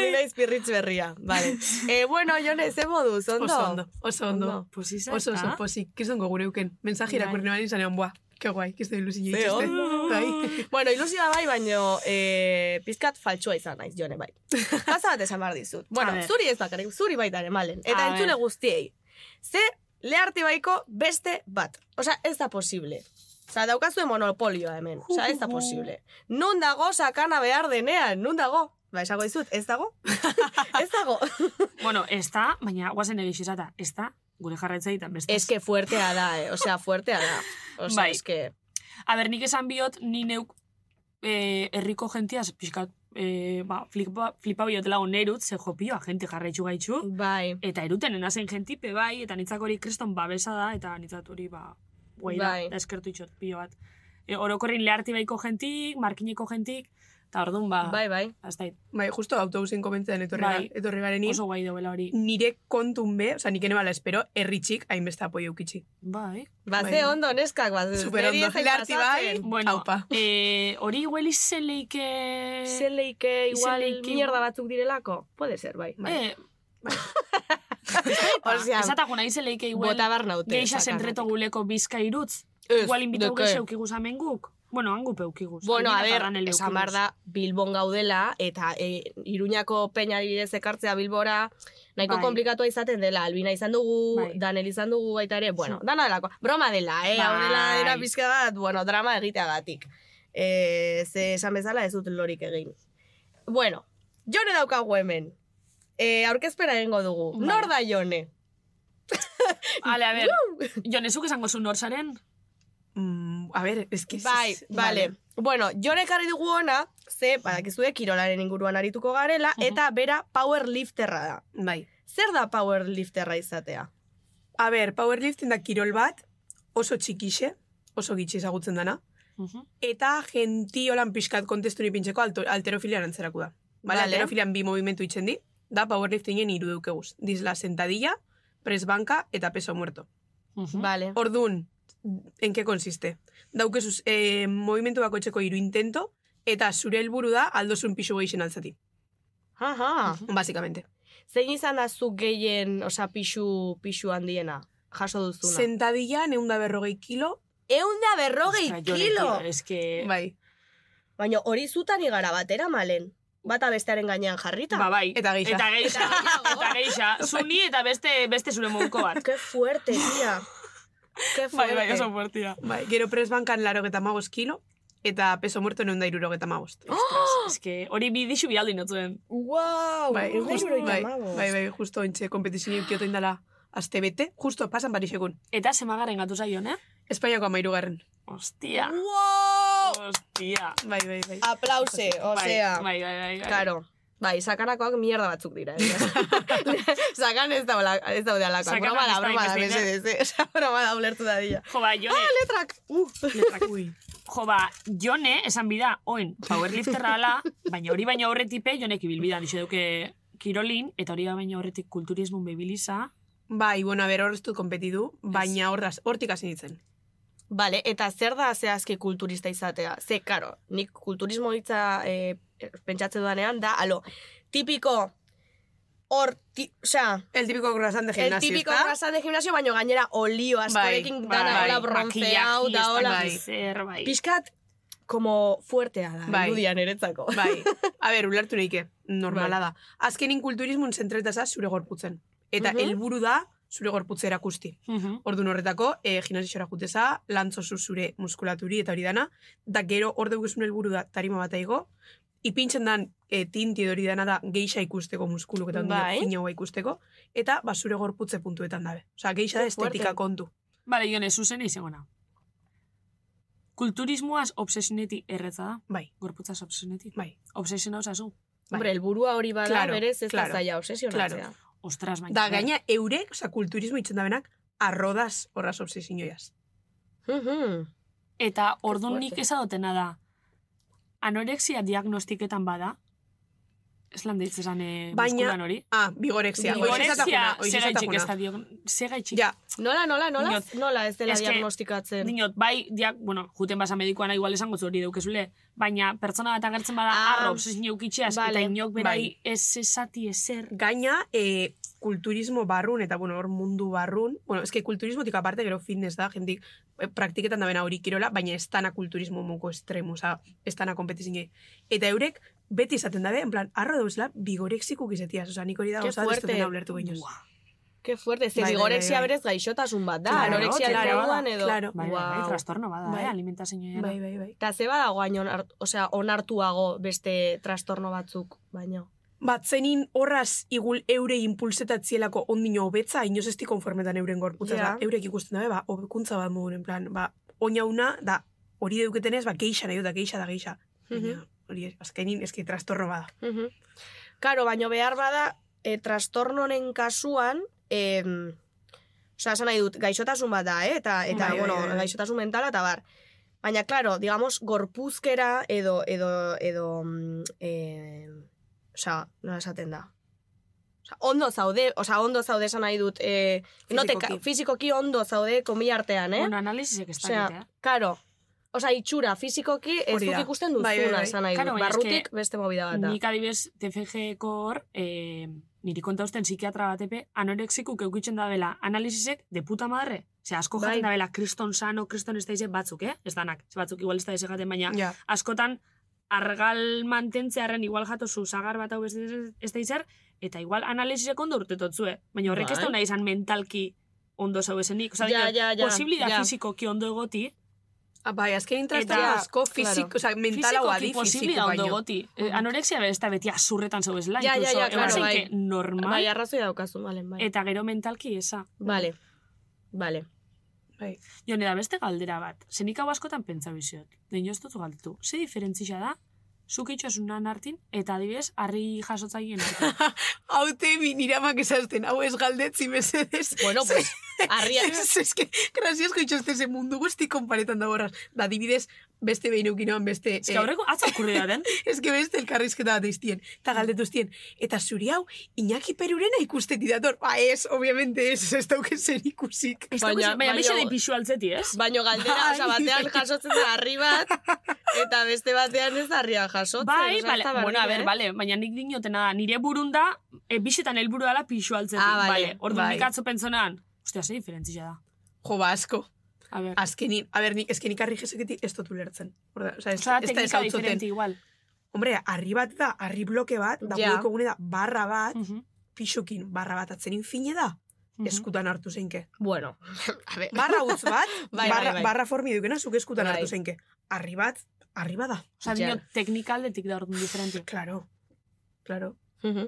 S2: Ni naiz pirritz berria. Vale. Eh, bueno, jone, ze moduz, ondo?
S8: Oso ondo, oso ondo.
S2: Ondo.
S6: Pues izan,
S8: Oso oso
S6: ah?
S8: pozik, kriston gogure euken. Mensaje
S6: Bai.
S8: irakurri nuen izan egon, buah, que guai, kriston ilusio
S2: Ze
S8: dituzte.
S6: ondo.
S8: Bai.
S2: *laughs* Bueno, ilusioa bai, baino eh, pizkat faltsua izan naiz, jone, bai. Gauza bat esan behar dizut. Bueno,
S6: A ver.
S2: zuri ez bakarrik, zuri baita ere malen. Eta
S6: A
S2: entzule
S6: ver.
S2: guztiei. Ze leharte baiko beste bat. Osa, ez da posible. Osa, daukazue monopolioa hemen. Osa, ez da posible. Nun dago sakana behar denean, nun dago? Ba, esago dizut, ez *laughs* dago? ez dago.
S6: Bueno, ez da, baina guazen egixo esata, ez da, gure jarraitza egiten beste.
S2: Es que fuertea da, eh? Osea, fuertea da. Osea,
S6: Bai.
S2: es que...
S6: A ber, nik esan biot, ni neuk eh, herriko gentiaz, pixkat, eh, ba, flipa, flipa biotela onerut, ze jopioa, jente jarraitxu gaitxu.
S2: Bai.
S6: Eta eruten enazen jentipe bai, eta nitzak hori kriston babesa da, eta nitzat hori, ba, guai da,
S2: Bai.
S6: da eskertu itxot pilo bat. E, orokorrin leharti baiko jentik, markineko jentik, eta orduan, ba,
S2: Bai, bai.
S6: azta,
S8: Bai, justo autobusen komentzean etorri,
S6: Bai.
S8: bai. etorri garen
S6: oso guai dobela hori.
S8: nire kontun be, oza, nik enebala espero, erritxik hainbeste apoio eukitxi.
S6: Bai.
S2: Ba, ze
S8: Bai.
S2: ondo, neskak, ba,
S8: Super
S2: zeri
S8: ondo.
S2: ez zait
S8: Larti
S2: pasatzen.
S8: bai.
S6: Bueno,
S8: Aupa.
S6: eh, hori igual izeleike...
S2: Zeleike Eh, igual
S6: Zeleike-
S2: mierda batzuk direlako? Puede ser, bai.
S6: Eh, ba,
S2: Osea,
S6: esatago nahi zeleike igual...
S2: bota bar naute.
S6: Geixa
S2: sakan.
S6: sentreto guleko bizka irutz.
S2: Ez,
S6: Igual invitau
S2: deke.
S6: geixa eukiguz amenguk. Bueno, hangupe eukiguz.
S2: Bueno, a
S6: Handik
S2: ver,
S6: atarran ele
S2: esan
S6: eukiguz.
S2: behar da, Bilbon gaudela, eta e, Iruñako peña adibidez ekartzea Bilbora, nahiko
S6: Bai.
S2: komplikatua izaten dela, Albina izan dugu,
S6: Bai.
S2: Danel izan dugu baita ere, bueno, dana delako, broma dela, eh, hau dela,
S6: Bai.
S2: dena pizka bat, bueno, drama egiteagatik. E, ze esan bezala ez dut lorik egin. Bueno, jone daukagu hemen. E, aurkezpera egingo dugu.
S6: Bai.
S2: Nor da jone?
S6: Ale, a ber, *laughs* jonezuk esango zu nor zaren?
S8: Mm, a ber, es que...
S2: Bai, vale. Bueno, jone ekarri dugu ona, ze, badakizue, kirolaren inguruan arituko garela,
S6: Mhm.
S2: eta bera powerlifterra da.
S8: Bai.
S2: Zer da powerlifterra izatea?
S8: A ber, powerlifting da kirol bat, oso txikixe, oso gitxe ezagutzen dana, eta gentiolan pixkat kontesturi pintzeko alto, alterofilia antzerako da. Vale,
S2: Vale.
S8: alterofilian bi movimentu itzen di, da powerliftingen hiru dukeguz. Dizla sentadilla, pres banka eta peso muerto.
S2: Vale.
S8: Ordun, en qué consiste? Daukezuz, eh, movimentu bakoitzeko hiru intento, eta zure helburu da aldozun pixu gehixen altzati,
S2: Aha.
S8: basikamente.
S2: Zein izan da zu gehien, osa, pixu, pixu handiena? Jaso duzuna. Zen...
S8: Sentadilla, neunda berrogei kilo,
S2: Eunda berrogei kilo!
S6: Es que...
S8: bai,
S2: Baina hori zutan igara batera, malen. Bata bestearen gainean jarrita.
S6: Ba, bai.
S8: Eta geisha.
S6: Eta geixa. eta geixa. Zuni eta beste, beste zure monko
S2: *laughs*
S6: bat.
S2: Qué fuerte, tía. Qué fuerte.
S6: Bai, bai, oso fuertia.
S8: bai. Gero pres bankan laro geta magoz kilo, eta peso muerto neunda iruro geta magoz.
S6: Ostras, es que hori bidixu bialdi notzuen.
S2: Wow,
S8: bai,
S2: bai,
S8: justo, bai, bai, bai, justo ontxe kompetizio ikioten dela aste bete, justo pasan parisekun.
S6: Eta semagaren gatu zaion, eh?
S8: Espainiako amairugarren.
S6: Ostia.
S2: Wow!
S6: Ostia.
S8: Bai, bai, bai.
S2: Aplause, osea.
S6: Bai, bai, bai. bai.
S2: Claro. Bai, sakanakoak mierda batzuk dira. egia.
S8: *laughs*
S2: Sakan ez, daula, ez daude alakoak.
S6: Sakanak
S2: Broma
S6: ez da
S2: da, broma da,
S6: hainbeste,
S2: mesedez. eh? *laughs* Osea, broma da, ulertu da dira.
S6: Jo, ba, jone,
S2: Letrak! Uh.
S6: jo, ba, jone, esan bida, oen, powerlifterra ala, baina hori baina horretipe, jonek ibilbidan, iso duke kirolin, eta hori baina horretik kulturismun bebiliza.
S8: Bai, bueno, a ber, hor ez dut kompetidu, baina horraz, hortik hasi nintzen.
S2: Vale, eta zer da zehazki kulturista izatea? Ze, karo, nik kulturismo hitza eh, pentsatze dudanean da, alo, tipiko, hor, ti, osea,
S8: El típico croissant
S2: el
S8: de gimnasio,
S2: típico
S8: ezta?
S2: grasa de gimnasio, baino gainera olio askorekin
S8: bai,
S2: dana,
S8: bai,
S2: hola, bronceau,
S6: makillaje,
S2: da, hola,
S6: ez dakit
S8: bai.
S6: Zer, bai.
S2: pixkat, como fuertea da,
S8: Bai.
S2: irudian eretzako.
S8: Bai, a ber, ulertu neike, normala da. Azkenin kulturismun zentretaza zure gorputzen. Eta
S2: Mhm.
S8: helburu da zure gorputza erakusti.
S6: Mhm.
S8: Ordun horretako, e, gimnasiora juteza, lantzozu zure muskulaturi eta hori dana, da gero hor deukizun helburu da tarima bat aigo, ipintzen dan e, tinti edo hori dana da geixa ikusteko muskuluk eta
S2: Bai.
S8: bai. finagoa ikusteko, eta basure gorputze puntuetan dabe. Osa, geixa da
S2: Ze fuerte.
S8: estetika kontu.
S6: Bale, jone, zuzen izegona. Kulturismoaz obsesioneti erretza da,
S8: Bai,
S6: gorputzaz obsesioneti.
S8: bai.
S6: Obsesiona osazu.
S8: Bai.
S2: Hombre, el burua hori bada,
S8: Claro,
S2: berez ez
S8: claro,
S2: da zaila obsesionatzea.
S8: claro.
S6: Ostras, baina.
S8: Da gaina eurek, osa, kulturismo itzen dabenak, arrodaz horraz obsesinioiaz.
S2: Mhm.
S6: Eta ordun
S2: fuerte.
S6: nik ezadotena da, anorexia diagnostiketan bada, Zelan deitz esan eh,
S8: Baina-
S6: muskulan hori?
S8: Ah, bigorexia. Oixe
S6: Bigorexia,
S8: zatajuna, oixe
S6: segaitxik ez
S8: zatajuna.
S6: da diog... Segaitxik.
S8: Ja,
S2: Nola, nola, nola,
S6: Diot,
S2: nola ez dela
S6: eske-
S2: diagnostikatzen.
S6: Dinot, bai, diak, bueno, juten basa medikuana igual esango zu hori daukezule, baina pertsona bat agertzen bada
S2: Ah,
S6: arro, obsesin eukitxeaz,
S2: vale.
S6: eta inok berari
S8: Bai.
S6: ez esati ezer.
S8: gaina, e, kulturismo barrun, eta, bueno, hor mundu barrun, bueno, eske kulturismotik aparte gero fitness da, jendik e, praktiketan da bena hori kirola, baina ez dana kulturismo moko estremo, oza, ez dana kompetizine. Eta eurek, beti izaten dabe, en plan, arro dauzela, bigorexikuk izetiaz, oza, nik hori da,
S2: Ke
S8: oza, ez
S2: fuerte.
S8: dena ulertu gainoz.
S6: Buah.
S2: Ke fuerte, ze
S8: Bai, bai,
S2: bigorexia
S8: bai, bai.
S2: berez gaixotasun bat da,
S8: Claro,
S2: anorexia
S8: claro,
S2: moduan edo.
S8: claro.
S6: Bai, wow. bai,
S2: Guau.
S6: trastorno bada,
S8: Bai.
S6: eh, alimentazioa.
S8: Bai, bai, bai.
S2: Eta ze badago hain onar- osea, onartuago beste trastorno batzuk, baino.
S8: Batzenin horraz igul eure impulsetatzielako ondino hobetza, inoz esti konformetan euren gorputza.
S2: Ja.
S8: Yeah. Eurek ikusten dabe, ba, hobekuntza bat mogun, en plan, ba, oinauna, da, hori deuketenez, ba, geixa nahi dut, da, geixa da, geixa. Baina, hori, ez, azkenin, eski trastorno bada.
S2: Mhm. Karo, baino behar bada, e, trastornonen kasuan, em, osea, esan nahi dut, gaixotasun bat da, eh? eta, eta
S8: Bai, bai,
S2: bueno,
S8: bai, bai.
S2: gaixotasun mentala eta bar. Baina, claro, digamos, gorpuzkera edo, edo, edo, mm, em, osea, nola esaten da? Osea, ondo zaude, osea, ondo zaude esan nahi dut, e, no te ka-
S8: Fisikoki.
S2: fisikoki ondo zaude komila artean, eh?
S6: Bueno, analizisek ez
S2: Osea,
S6: dakit, eh?
S2: Karo, Osa, itxura, fisikoki ez
S8: Hori
S2: duk
S8: da.
S2: ikusten duzuna,
S8: Bai, bai, bai.
S2: esan nahi dut.
S6: Claro, baina eske-
S2: Barrutik beste movida bat da.
S6: Nik adibidez, TFG-ko hor, eh, niri konta usten psikiatra batepe, anorexikuk eukitzen da bela, analizisek de puta madre. Ze asko
S2: Bai.
S6: jaten da bela, kriston sano, kriston ez da ize batzuk, eh? Ez danak, ze batzuk igual ez da ize jaten, baina
S8: Ja.
S6: askotan argal mantentzearen igual jatozu sagar bat hau beste ez- ez da izar, eta igual analizisek ondo urtetotzue. Baina horrek ez
S1: Bai.
S6: da nahi izan mentalki ondo zau esenik. Osa,
S2: Ja, ja, ja,
S6: posibilidad
S2: ja.
S6: fisikoki ondo egoti,
S8: Ah, bai, azkenin
S6: Eta-
S8: trastorno asko fizik,
S2: claro.
S8: claro. oza, mentala
S6: fizikoki
S8: guadi,
S6: posibilidad
S8: fiziko
S6: ondo
S8: baino.
S6: egoti. Eh, anorexia ez da beti azurretan zau esela,
S2: Mm. Ja, ja,
S6: incluso,
S2: ja,
S6: egon
S2: claro,
S6: zen
S2: bai.
S6: que normal,
S2: Bai, arrazoi daukazu, balen, bai.
S6: eta gero mentalki esa.
S2: Vale. Vale.
S8: Bai.
S6: Jone, da beste galdera bat. Zenik hau askotan pentsa biziot. Dein ez dut galtu. Ze diferentzixa da, zuk itxosunan hartin, eta adibidez, harri jasotzaien
S2: *laughs*
S6: hartin.
S8: Haute mi niramak esazten, hau ez galdetzi mesedes.
S2: Bueno, pues,
S6: *laughs*
S2: arria...
S8: Ez, ez, que, graziasko itxoste ze mundu guzti konparetan da borraz. Da, dibidez, beste behin eukinoan beste...
S6: Ez que aurreko, atza okurri da den.
S8: Ez que beste elkarrizketa bat iztien, eta galdetu iztien. Eta zuri hau, Iñaki Perurena ikusteti dator. Ba ez, obviamente ez, ez dauken zer ikusik.
S6: Ez
S2: Baina-
S6: baina, baina,
S2: baina-
S6: bixe de pixu altzeti, ez?
S2: Baino galdera,
S8: Bai.
S2: oza, batean jasotzen da harri bat, eta beste batean ez eh, da harria jasotzen.
S6: Bai,
S2: osea, ez
S6: bale,
S2: da
S6: bueno, a
S2: berdina,
S6: ver,
S2: eh?
S6: bale, baina nik dinotena da, nire burun da, e, bixetan helburu dela pixu altzeti.
S2: Ah, bale,
S6: Ordu
S8: bai.
S6: nik atzo pentsonan, ustia, ze diferentzixa da.
S8: Jo, ba, asko.
S6: A
S2: Ah,
S6: ver,
S8: Azkenin, a ber, nik, ezkenik harri jeseketik ez dut ulertzen. Orda, oza, ez,
S6: Osa,
S8: ez da ez
S6: teknika
S8: hau zuten.
S6: diferente igual.
S8: Hombre, harri bat da, harri bloke bat,
S2: Ja.
S8: da
S2: Mm.
S8: yeah. gune da, barra bat,
S6: Mhm,
S8: pixukin, barra bat atzenin fine da,
S6: mhm.
S8: eskutan hartu zeinke.
S2: Bueno, *laughs* a ver,
S8: Barra utz bat,
S2: *laughs* Bai, bai,
S8: barra,
S2: bai.
S8: barra formi dukena, zuk eskutan
S2: Bai.
S8: hartu zeinke. Harri bat, harri bat da.
S6: Osa,
S2: Ja.
S6: dinot, teknika aldetik da orduan diferente.
S8: Claro, claro.
S2: Mhm.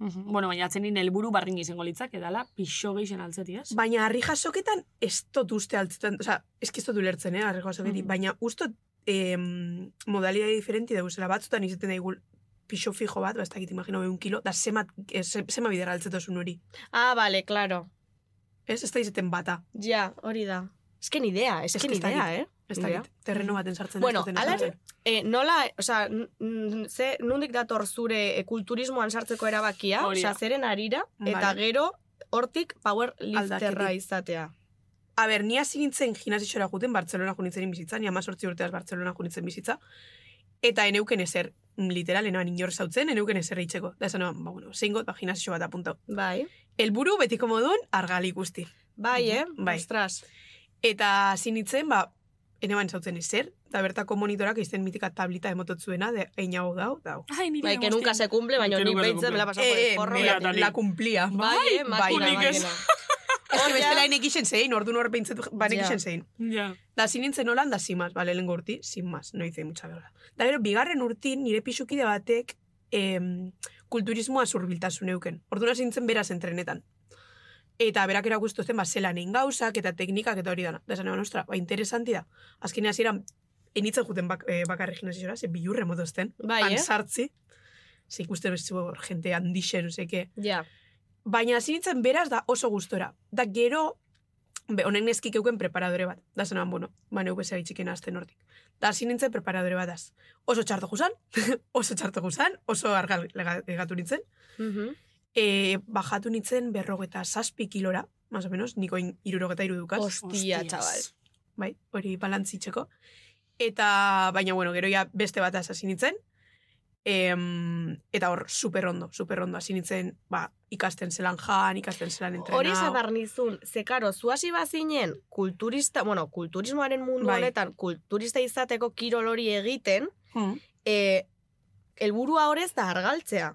S6: Mhm. Bueno, baina atzenin helburu barrin izango litzak, edala, pixo geixen altzeti,
S2: Bai.
S6: ez?
S8: Baina harri jasoketan ez dut uste altzetan, oza, ez ez dut ulertzen, eh, harri
S6: Mhm.
S8: jasoketik,
S2: Mm.
S8: baina ustot em, modalidade diferenti da guzela, batzutan izaten da igul pixo fijo bat, ba, ez dakit imagino un kilo, da zema, eh, ze- zema bidera altzetozun hori.
S2: Ah, vale, claro.
S8: Ez, ez da izaten bata,
S2: Ja, hori da. Ez que ni idea, ez
S8: Ez
S2: que
S8: que
S2: ni
S8: ez dakit.
S2: idea, eh?
S8: ez
S2: Ni idea.
S8: dakit, terreno baten sartzen.
S2: Bueno,
S8: ez dutena
S2: ala
S8: sartzen.
S2: E, nola, osea, n- n- ze, nundik dator zure e, kulturismoan sartzeko erabakia,
S6: Hori da.
S2: osea, zeren arira, eta
S8: Vale.
S2: gero, hortik powerlifterra
S8: Aldaketik.
S2: izatea.
S8: A ber, ni hasi nintzen gimnasiora joaten Bartzelona joan bizitza, ni amazortzi urteaz Bartzelona joan nintzen bizitza, eta eneuken ezer, mm, literal, enoan inor zautzen, eneuken ezer eitzeko. Da esan noan, ba, bueno, zeingot, ba, gimnasio bat apuntau.
S2: Bai.
S8: Helburu betiko modun argali guzti.
S2: Bai, eh?
S8: Bai.
S2: Ostras.
S8: Eta hasi nintzen, ba, eneban zautzen ezer, eta bertako monitorak izten mitika tablita emototzuena, de einago dau, dau.
S6: Ai, nire
S2: Bai, que nunca se cumple, baina
S6: Que
S2: nik
S6: nunca se
S2: behitzen
S6: cumple.
S2: bela pasa por
S8: Eh,
S2: el
S8: eh,
S2: forro.
S8: me la, la cumplia.
S2: Bai, eh?
S8: bai,
S2: Makina,
S6: unik ez.
S2: makina.
S8: Ez que
S2: Hor
S8: bestela
S2: ja-
S8: enek isen zein, ordu nor behintzat banek
S2: Ja.
S8: isen zein.
S6: Ja.
S8: Da, hasi nintzen holan, da, sin más, bale, lehen urti, sin más, no hice mucha verga. Da, gero, bigarren urtin, nire pixukide batek, em, kulturismoa zurbiltasun euken. Orduan hasi nintzen beraz entrenetan. Eta berak erakustu zen, ba, zelan egin gauzak eta teknikak eta hori dana. Da, esan eban, ostra, ba, interesanti da. Azkenean hasieran enitzen juten bak, eh, bakarri gimnasiora, ze bilurre motozten.
S2: Bai, eh?
S8: Ansartzi. Ze ikusten ez zuen, jente handixen, no seke.
S2: Ja.
S8: Baina hasi nintzen beraz da oso gustora. Da, gero, Be, honek neskik euken preparadore bat. Da zenan, bueno, ba, neu bezea itxiken azten hortik. Da, hasi nintzen preparadore bat az. Oso txarto guzan, *laughs* oso txarto guzan, oso argal lega- legatu nintzen. E, bajatu nintzen berrogeta saspi kilora, más o menos, niko irurogeta irudukaz.
S2: Ostia,
S6: Hostias.
S2: txabal.
S8: bai, hori balantzitzeko. Eta, baina, bueno, gero ja beste bat hasi nintzen. Em, eta hor, super ondo, super ondo hasi nintzen, ba, ikasten zelan jan, ikasten zelan entrenau.
S2: Hori esan behar nizun, ze karo, zu hasi bazinen kulturista, bueno, kulturismoaren mundu
S8: Bai.
S2: honetan, kulturista izateko kirol hori egiten,
S8: Mm.
S2: eh, elburua hor ez da argaltzea.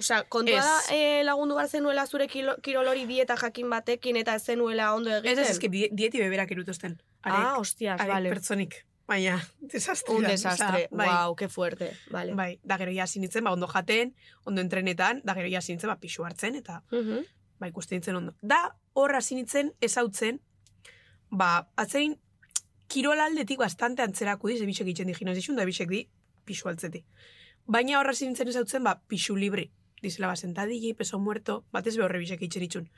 S2: Osea, kontua
S8: Ez.
S2: da eh, lagundu behar zenuela zure kilo, kirol hori dieta jakin batekin eta ez zenuela ondo
S8: Ez,
S2: egiten.
S8: ez, eski, die- dieti beberak irutuzten. Arek,
S2: ah, hostias,
S8: arek
S2: vale.
S8: pertsonik. Baina, *laughs* desastre.
S2: Un
S8: da,
S2: desastre,
S8: osea, bai,
S2: wow, qué fuerte, vale.
S8: bai, da gero ja hasi nintzen, ba, ondo jaten, ondo entrenetan, da gero ja hasi nintzen, ba, pixu hartzen, eta
S2: Mhm.
S8: ba, ikusten nintzen ondo. Da, hor hasi nintzen, ezautzen, ba, atzein, kirol aldetik bastante antzerako di, ze bisek itxen di gimnasio da bisek di pisu altzetik. Baina hor hasi nintzen ezautzen, ba, pisu libre. Dizela, ba, sentadigi, peso muerto, batez behorre bisek itxen itxun.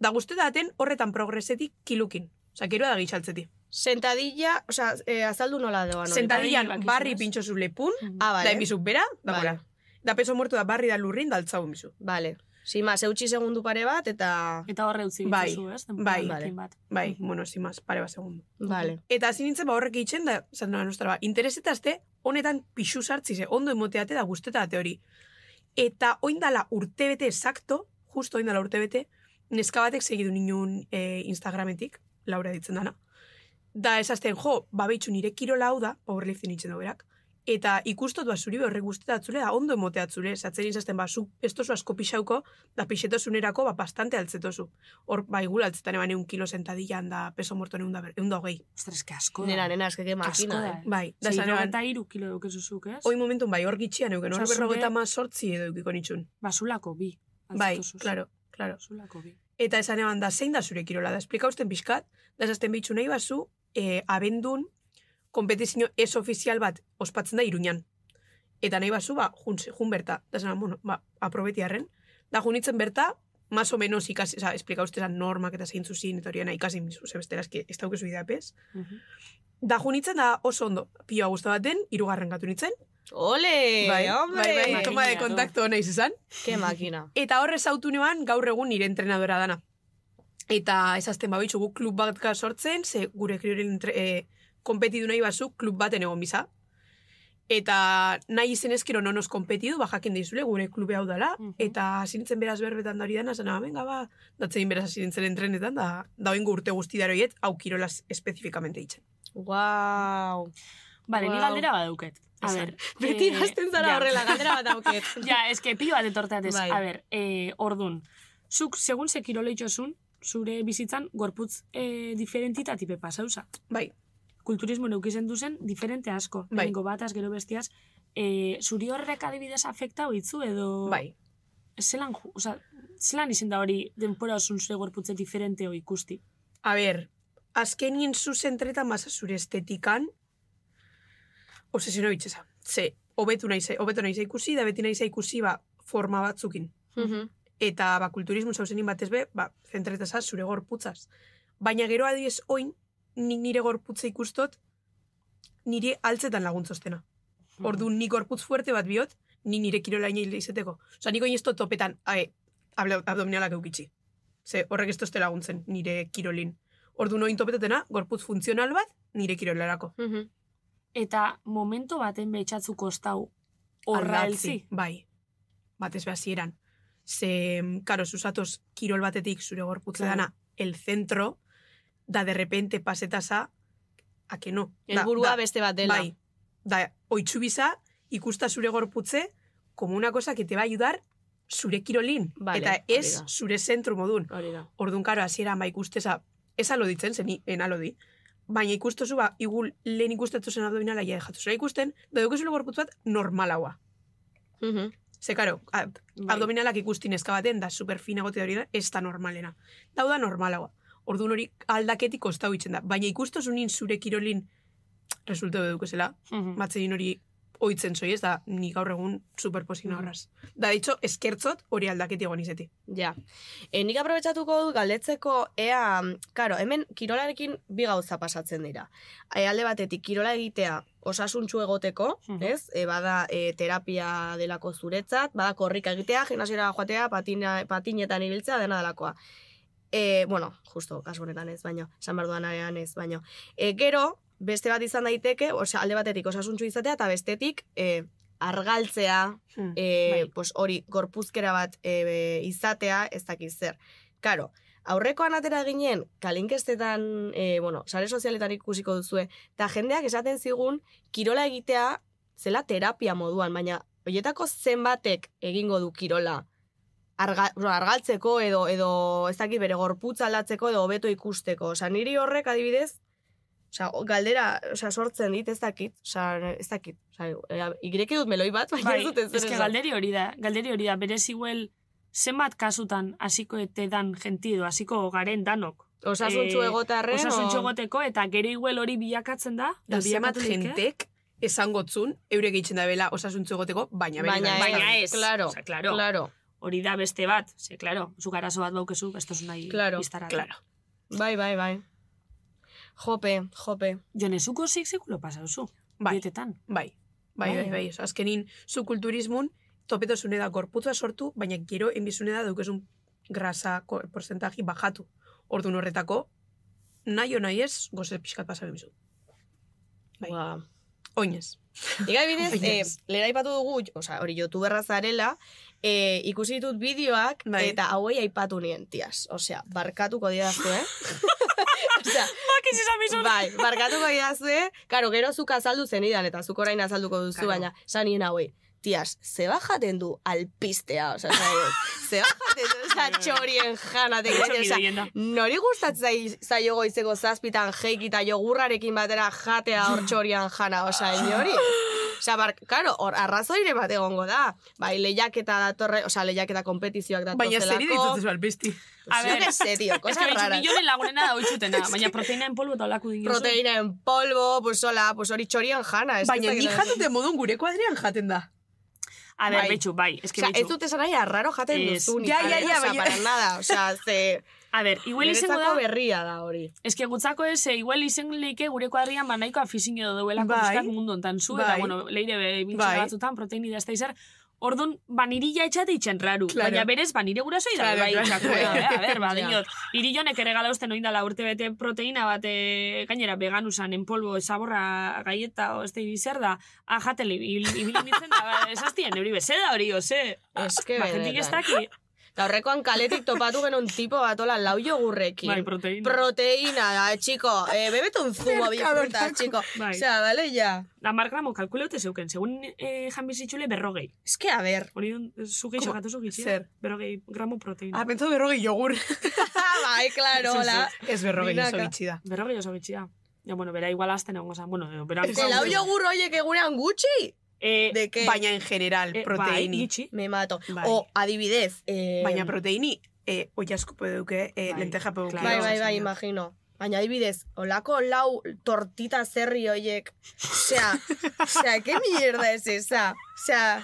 S8: Da guzti daten horretan progresetik kilukin. Osa, gero da gitxaltzetik.
S2: Sentadilla, o sea, eh, azaldu nola doa. hori.
S6: Senta-
S8: Sentadillan
S6: Bai,
S8: barri
S6: bakizunaz.
S8: pintxo zu lepun,
S2: Ah,
S8: da
S2: vale,
S8: enbizu bera, da
S2: Vale.
S8: gora. Da peso muerto da barri da lurrin, da altzau enbizu.
S2: vale. Sin más, eutxi segundu pare bat, eta...
S6: Eta horre utzi
S8: Bai,
S6: dituzu, ez?
S8: bai.
S6: denborarekin bat.
S8: Bai, bueno, sin más, pare bat segundu.
S2: Vale.
S8: Eta hasi nintzen ba horrek itxen da, zan nola nostra ba, interesetazte, honetan pixu sartzi ze, ondo emoteate da guztetate hori. Eta oindala urtebete esakto, justo oindala urtebete, neska batek segidu ninun e, Instagrametik, Laura ditzen dana. Da esazten, jo, ba behitxu nire kirola hau da, powerlifting itxen da berak, eta ikustotu zuri horrek guztetatzule da ondo emoteatzule, zatzen izazten, ba, zu estozu asko pixauko, da pixetosunerako, ba, bastante altzetozu. Hor, ba, igula altzetan eban eun kilo sentadillan da, peso morto eun da, ber- eun da hogei.
S6: Ostras, que asko da.
S2: Nena, nena, eske que
S6: asko
S2: makina,
S6: da.
S2: eh.
S6: eh?
S8: Bai, da
S6: Ze
S8: esan eban,
S6: irurogeta iru kilo dukezuzuk, ez?
S8: hoi momentun bai, hor gitxian euken, hor
S6: Osa, zure-
S8: berrogeta ma sortzi edo eukiko nitxun.
S6: Basulako Ba, bi.
S8: Bai,
S6: Altzatuzuz.
S8: claro, claro.
S6: Basulako bi.
S8: Eta esan eban da, zein da zure kirola, da esplikauzten pixkat, da esazten behitxu nahi bazu, e, abendun, kompetizio ez ofizial bat ospatzen da Iruñan. Eta nahi bazu, ba, jun, jun berta, da esan eban, bueno, ba, aprobetiarren, da junitzen berta, más o menos ikasi, oza, esplikauzte esan normak eta zein zuzin, eta hori ikasi mizu, ze bestela, eske, ez daukezu idapes.
S6: Mhm.
S8: Da junitzen da oso ondo, pioa guztabaten, irugarren gatu nintzen,
S2: Ole,
S8: bai,
S2: hombre.
S8: bai, bai,
S6: Makina,
S8: toma de
S6: du.
S8: kontakto nahi izan.
S2: Ke makina.
S8: Eta horrez autu neban gaur egun nire entrenadora dana. Eta ez azten babitxu guk klub bat ka sortzen, ze gure krioren entre, e, kompetidu nahi bazu klub baten egon biza. Eta nahi izen ezkero nonos kompetidu, ba jakin dizule gure klube hau dala,
S6: Mhm.
S8: eta hasi nintzen beraz berbetan da hori dana, zena, benga ba, datzein beraz hasi nintzen entrenetan, da, da oingo urte guzti daroiet, hau kirolaz espezifikamente itxen.
S2: Wow.
S8: *laughs*
S6: Vale, ni
S2: Wow.
S6: galdera badauket. A
S8: Esan. *laughs*
S6: ber,
S2: Beti
S6: eh,
S2: hasten zara
S6: ja.
S2: horrela, galdera bat *laughs* dauket.
S6: *laughs* Ja, eske pilo bat etorteat ez.
S2: Bai.
S6: A ber, eh, ordun. Zuk, segun ze kiroleitxosun, zure bizitzan, gorputz eh, diferentitatipe pasauza.
S8: Bai,
S6: Kulturismo neukizen duzen, diferente asko.
S8: Bai.
S6: Lehenengo bataz, gero bestiaz. Eh, zuri horrek adibidez afekta hoitzu edo...
S8: bai.
S6: Zelan, ju- oza, zelan izen da hori denpora osun zure gorputze diferente hoi ikusti.
S8: A ber, azkenien zuzentreta masa zure estetikan, obsesiono bitxesa. Ze, hobetu nahi ze, hobeto nahi ze ikusi, da beti nahi ze ikusi, ba, forma batzukin.
S2: Mhm.
S8: Eta, ba, kulturismo zauzenin batez be, ba, zentretasa zure gorputzaz. Baina gero adiez oin, nik nire gorputza ikustot, nire altzetan laguntzostena. Ordu nik gorputz fuerte bat bihot, ni nire kirolaina hile izeteko. Osa, niko inizto topetan, ae, abla- abdominalak eukitzi. Ze, horrek ez tozte laguntzen, nire kirolin. Ordu noin topetatena, gorputz funtzional bat, nire kirolarako.
S2: Mhm.
S6: Eta momento baten betxatzu kostau horra
S8: Aldatzi,
S6: helzi.
S8: Bai. Batez behazieran. Ze, mm, karo, susatoz, kirol batetik zure gorputza
S6: Claro.
S8: dana, el centro, da de repente pasetasa, a que no. Da-
S2: Elburua
S8: da-
S2: beste bat dela.
S8: Bai. Da, oitzu biza, ikusta zure gorputze, como una cosa que te va a ayudar zure kirolin.
S2: Vale,
S8: eta
S2: hori
S8: ez
S2: da.
S8: zure zentru modun.
S2: Hori da.
S8: Orduan, karo, hasiera ba ikusteza, ez aloditzen, zen ni- en alodi. Baina ikustozu ba, igul lehen ikustetu zen abdominala ja dejatu zure ikusten, da dukezule gorputz bat normalaua.
S2: Mhm.
S8: Ze, karo, a-
S6: Bai.
S8: abdominalak ikustin eska baten, da superfina gote hori da, ez da normalena. Dau da normalagoa. Orduan hori aldaketik kostau itxen da. Baina ikustozunin zure kirolin resultatu dukezela,
S2: Mm. *laughs*
S6: Mhm.
S8: batzein hori oitzen zoi, ez da, ni gaur egun
S2: Mm.
S8: superposina horraz. Da, ditxo, eskertzot hori aldaketi egon izeti.
S2: Ja. E, nik aprobetsatuko dut galdetzeko ea, karo, hemen kirolarekin bi gauza pasatzen dira. E, alde batetik kirola egitea osasuntsu egoteko,
S6: Mhm.
S2: ez? E, bada e, terapia delako zuretzat, bada korrika egitea, gimnasiora joatea, patina, patinetan ibiltzea dena delakoa. E, bueno, justo, kasu honetan ez, baino, esan behar dudanean ez, baino. E, gero, beste bat izan daiteke, osa, alde batetik osasuntsu izatea, eta bestetik e, argaltzea, e,
S6: Bai.
S2: pues hori gorpuzkera bat e, be, izatea ez dakiz zer. Karo, aurrekoan atera ginen kalinkestetan, e, bueno, sare sozialetan ikusiko duzue, eta jendeak esaten zigun kirola egitea zela terapia moduan, baina hoietako zenbatek egingo du kirola Arga, bueno, argaltzeko edo edo ez dakit bere gorputza aldatzeko edo hobeto ikusteko. Osea, niri horrek adibidez, osea, galdera, osea, sortzen dit ez dakit, osea, ez dakit. Osea, ireki dut meloi bat, baina
S6: Bai,
S2: ez dut ezer
S6: eske
S2: esan.
S6: galderi hori da, galderi hori da, berez igual zenbat kasutan hasiko ete dan jenti edo hasiko garen danok.
S2: Osasuntxu
S6: Eh,
S2: egotarren.
S6: Osasuntxo
S2: o-
S6: egoteko eta gero igual hori bilakatzen da. eh?
S8: Da, zemat
S2: eh?
S6: bilakatu daiteke.
S8: jentek esangotzun, eure gehitzen da bela osasuntzu egoteko, baina bere
S2: Baina
S8: gain
S2: ez,
S8: ez da.
S6: Baina ez.
S2: claro,
S6: Osea, claro.
S2: Claro.
S6: Hori da beste bat. Ze, claro, zu garazo bat baukezu, besto zu nahi
S2: Claro,
S6: iztaratu.
S8: Claro.
S2: Bai, bai, bai. Jope, jope.
S6: Jone, zuko zik zikulo pasauzu.
S2: eh.
S8: Bai,
S6: Dietetan.
S8: bai, bai, bai, bai. Oso, azkenin, zu kulturismun, topetosune da gorputza sortu, baina gero enbizune da daukesun grasa ko- porcentaji bajatu. Ordun horretako, nahi o nahi ez, goze pixkat pasa bimizu. Bai.
S2: Ba.
S8: Oinez.
S2: Igai bidez,
S8: Oinez.
S2: eh, lera aipatu dugu, osea, hori youtuberra zarela, eh, ikusi ditut bideoak
S8: Bai.
S2: eta hauei aipatu nien, tias. Osea, barkatuko didazu, eh? osea,
S6: Bakiz izan
S2: bai, barkatuko didazue, karo, gero zuk azaldu zenidan, eta zuk orain azalduko duzu,
S8: Claro.
S2: baina, sanien hauei, tias, ze bajaten du alpistea, osea, zaio, ze bajaten du,
S6: Bai,
S2: osea, txorien jana, tekete, osea, nori gustatzen zai- zaio goizeko zazpitan jeiki eta jogurrarekin batera jatea hor txorian jana, osea, inori. Osea, bar, karo, hor arrazoire bat egongo da. Bai, lehiaketa datorre, osea, lehiaketa kompetizioak
S8: Baina
S2: datozelako.
S8: zeri ditzatzen albisti.
S6: A
S2: Yo
S6: ver.
S2: qué sé,
S6: *laughs*
S2: tío,
S6: Ez que
S2: cosas
S6: bitxu,
S2: raras.
S6: bilonen lagunena da
S2: *laughs*
S6: oitzutena, baina proteina en polvo eta olako dinosu.
S2: proteina en polvo, pues hola, pues hori txorian jana. Ez
S8: Baina
S2: ez
S8: ni
S2: dakit-
S8: jatute modun gure kuadrian jaten da.
S6: A ver,
S2: Bai.
S6: betxu, bai, ez que
S2: Osea, ez
S6: betxu.
S2: dut esan nahi arraro jaten
S6: Ez.
S2: duzunik.
S8: Ja, ja,
S2: a ver,
S8: ja,
S2: osea,
S8: baina-
S2: *laughs* para nada, osea, ze...
S6: A ver, igual izango
S2: Niretzako
S6: da,
S2: berria da hori.
S6: Ez que gutzako ez, eh, igual izen leike gure kuadrian ba nahiko afizinio da duela
S8: Bai.
S6: bai. mundu ontan zu, eta
S8: Bai.
S6: bueno, leire be, biltza
S8: Bai.
S6: batzutan, proteinida ez da izar, Orduan, ba, niri ja etxate itxen raru.
S8: Claro.
S6: Baina berez, ba, nire gurasoi da,
S8: Claro,
S6: bai,
S8: claro.
S6: itxako, eh? A
S8: *laughs*
S6: ber, ba,
S2: Ja.
S6: diot. Niri jonek ere galauzten oindala urte bete proteina bat, eh, gainera, veganusan, en polvo, zaborra, gaieta, o, ez da ibizer da, ah, jatele, ibili nintzen da, ba, esaztien, euri bezeda hori, oze.
S2: Ez que
S6: ba, jentik ez
S2: benetan.
S6: daki.
S2: Eta horrekoan kaletik topatu genuen tipo bat hola lau jogurrekin.
S6: Bai, proteina.
S2: Proteína, da, chico. Eh, bebete un zumo de fruta, chico.
S6: Bai.
S2: O sea, vale, ya.
S6: Amar gramo kalkuleute zeuken, segun eh, jan bizitzule berrogei.
S2: Es que,
S6: *laughs*
S2: a ver.
S6: Hori don, zu gehi
S8: Como,
S6: sakatu zu gehi,
S8: zer?
S6: berrogei gramo proteina.
S8: Ah, pentsa berrogei jogur.
S2: bai,
S8: *laughs*
S2: claro, hola.
S8: Ez berrogei oso
S2: Binaka.
S8: bitxi da.
S6: berrogei oso bitxia. Ja, bueno, bera igual azten egon zan. Bueno, eh, edo, bera...
S2: Ze lau yogur horiek egunean gutxi?
S6: Eh,
S2: De que...
S8: Baina en general,
S6: eh, Bai,
S8: proteini.
S6: gitxi.
S2: Me mato.
S8: Bai.
S2: O, adibidez. Eh,
S8: Baina proteini, eh, oiasko peduke, eh,
S6: Bai,
S8: lenteja peduke.
S6: claro.
S2: Bai, bai, bai,
S8: Osasuna.
S2: imagino. Baina adibidez, olako lau tortita zerri hoiek. Osea, osea, que mierda es esa? Osea,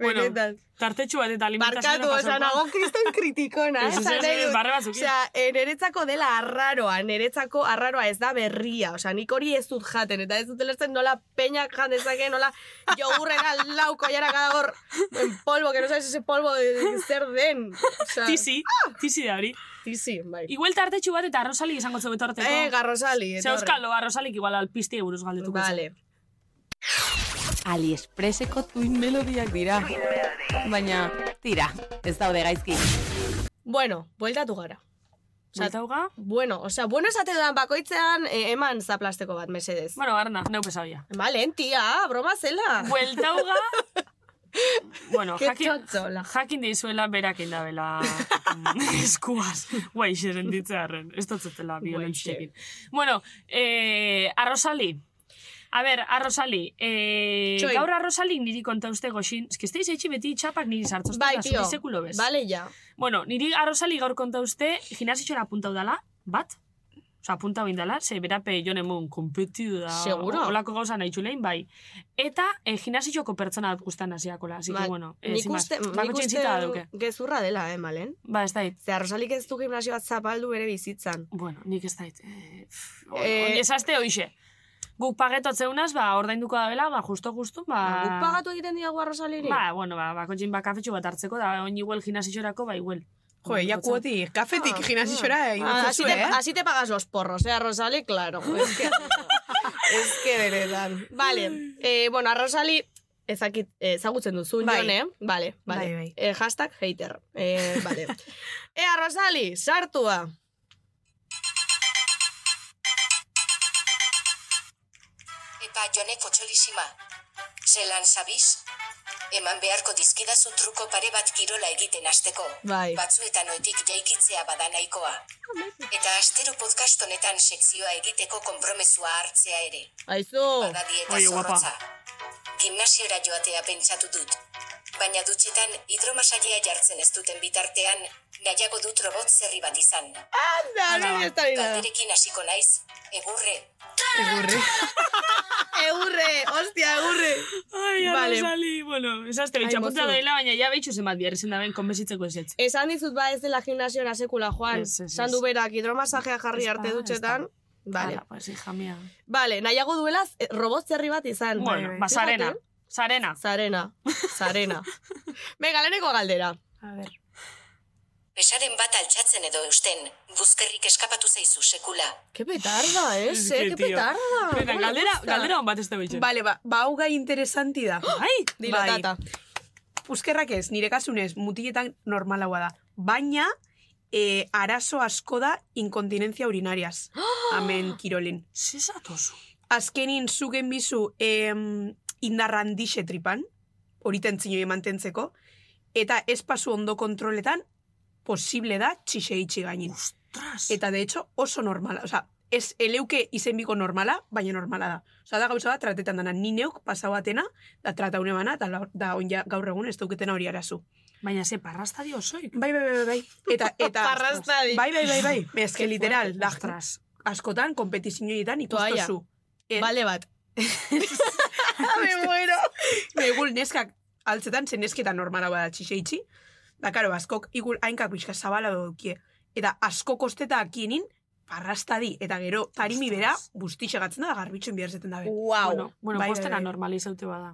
S6: Bueno,
S2: benetan.
S6: Tartetxu bat eta alimentazioa...
S2: Barkatu, oza, nago kriston kritikona. eh,
S6: Ez, ez,
S2: esan
S6: ez,
S2: nahi dut.
S6: barre batzuk,
S2: Osea, eh, niretzako dela arraroa, niretzako arraroa ez da berria. Osea, nik hori ez dut jaten, eta ez dut lertzen nola peñak jan dezake, nola jogurrera lauko jara kadagor en polvo, que no sabes ese polvo de, de zer den. Osea,
S6: Tizi, tizi da hori.
S2: Tizi, bai.
S6: Igual tartetxu bat eta arrozali izango zeu betorteko.
S2: Eh, garrosali.
S6: Ze euskalo, arrozalik igual alpizti buruz galdetuko. zen.
S2: Vale.
S9: Aliexpreseko tuin melodiak dira. Baina, tira, ez daude gaizki.
S2: Bueno, bueltatu gara. pues-
S6: Bueltauga?
S2: Bueno, osea, bueno esate dudan bakoitzean eh, eman zaplasteko bat, mesedez.
S6: Bueno, Arna, neu pesabia.
S2: Malen, tia, broma zela. *laughs*
S6: Bueltauga... bueno,
S2: Ke
S6: jakin,
S2: txotxola.
S6: jakin dizuela berak indabela mm,
S2: *laughs*
S6: eskuaz. Guai, xeren ditzearen. Ez dotzutela violentziakin. Bueno, eh, arrozali. A ber, arrozali. Eh,
S2: Txoi.
S6: gaur arrozali niri konta uste goxin. Ez que ez deiz etxi beti txapak niri sartzozten
S2: Bai,
S6: da,
S2: tio.
S6: zuri sekulo bez.
S2: Vale, ya.
S6: Bueno, niri arrozali gaur konta uste gimnasiotxora apuntau dala, bat? Osa, apunta bindala, ze berape joan emon kompetidu da.
S2: Seguro.
S6: Olako gauza nahi txulein, bai. Eta eh, gimnasioko pertsona bat guztan hasiakola. Así que,
S2: Ba,
S6: bueno, eh,
S2: Nik
S6: sin más.
S2: uste, nik
S6: Bakotxe
S2: uste
S6: itxita da duke.
S2: gezurra dela, eh, Malen?
S6: Ba, ez dait.
S2: Zer, Rosalik ez du gimnasio bat zapaldu bere bizitzan.
S6: Bueno, nik ez dait. Eh, pff, o-
S2: Eh,
S6: on- Ezazte hoxe. Guk pagetotzeunaz, ba, ordainduko da bela, ba, justo justu, ba...
S2: Ba, Guk pagatu egiten diagu Rosaliri?
S6: Ba, bueno, ba, bakotxin ba, kafetxu bat hartzeko, da, oin igual gimnasiorako, ba, igual.
S8: Jo, ja kuoti, kafetik gimnasiora egin
S2: Ah, así,
S8: duzu,
S2: te,
S8: eh?
S2: así te pagas los porros, eh, a Rosali, claro. Es que, es que benetan. Vale, eh, bueno, a Rosali ezakit, eh, ezagutzen duzu,
S8: Bai.
S2: Jon, eh? Vale, vale.
S8: Bai, bai.
S2: Eh, hashtag hater. Eh, vale. *laughs* Ea, Rosali, sartua.
S10: Epa joneko txolisima. Zelan zabiz? Eman beharko dizkidazu truko pare bat kirola egiten hasteko.
S2: Bai.
S10: Batzuetan oitik jaikitzea bada nahikoa. Eta astero podcast honetan sekzioa egiteko konpromesua hartzea ere.
S2: Aizu.
S10: Bada dieta
S6: Oie, guapa.
S10: zorrotza. Gimnasiora joatea pentsatu dut. Baina dutxetan hidromasailea jartzen ez duten bitartean, nahiago dut robot zerri bat izan.
S2: Anda, hori ez da nada.
S10: Galderekin hasiko naiz, egurre,
S8: Egurri.
S2: Egurre, hostia, egurre.
S6: Ai,
S2: Vale.
S6: vale. sali, bueno, ezazte
S2: Ai,
S6: bitxa punta
S2: mozu.
S6: doela, baina ja behitxu zenbat bihar izen daben konbesitzeko ez etz.
S2: Esan dizut ba ez dela gimnasiora sekula, Juan.
S6: Ez, ez, ez.
S2: Sandu berak hidromasajea jarri
S6: Ez da,
S2: arte
S6: ez da.
S2: dutxetan. Vale.
S6: Ala, pues, hija mía.
S2: Vale, nahiago duelaz eh, robot zerri bat izan. Bai,
S6: Bueno, ba,
S8: eh?
S6: sarena.
S2: Fíjate.
S6: Sarena.
S2: Zarena, zarena. Venga, leheneko galdera.
S8: A ber.
S10: Besaren bat altxatzen edo eusten, buzkerrik eskapatu zaizu sekula.
S2: Qué petarda, eh,
S6: Es
S2: ze,
S6: que,
S2: que
S6: tío.
S2: petarda.
S8: Ah,
S6: Venga,
S2: Hola,
S6: galdera,
S2: gusta.
S6: galdera hon bat ez da behitxu.
S8: Bale, ba, ba, hau gai interesanti
S2: *gasps*
S8: da.
S6: Ai,
S2: Dilo,
S8: Bai.
S2: tata.
S8: Uzkerrak ez, nire kasunez, mutiletan normalagoa da. Baina, eh, arazo asko da
S2: *gasps*
S8: inkontinentzia urinariaz. Amen, Kirolin.
S6: zesatozu.
S8: Azkenin zugen bizu em, indarra handixe tripan, hori tentzinoi mantentzeko, eta espazu ondo kontroletan, posible da txixe itxi gainin.
S6: Ostras.
S8: Eta de hecho oso normala, osea, ez eleuke izenbiko normala, baina normala da. Osea, da gauza bat tratetan dana, ni neuk pasau batena, da trataune bana, da, la- da on ja gaur egun ez dauketena hori arazu.
S6: Baina ze parrasta dio soik.
S8: Bai, bai, bai, bai, bai. Eta,
S2: *laughs*
S8: eta...
S2: Parrastadi.
S8: Bai, bai,
S2: *laughs*
S8: bai, bai. Ez que literal, da,
S6: Ostras.
S8: askotan, kompetizioetan
S2: Toalla.
S8: ikustozu. Eh,
S2: Bale bat.
S8: Me muero. Egul neskak altzetan, zen nesketan normala bada txiseitzi. Da, karo, askok igul hainkak bizka zabala dukie. Eta asko kosteta akienin, parrastadi. Eta gero, tarimi bera, bustixagatzen da, garbitzen bihar zeten dabe.
S2: Wow.
S6: Bueno, bueno,
S8: Bai, bai,
S6: postena
S8: bai.
S6: normalizaute bada.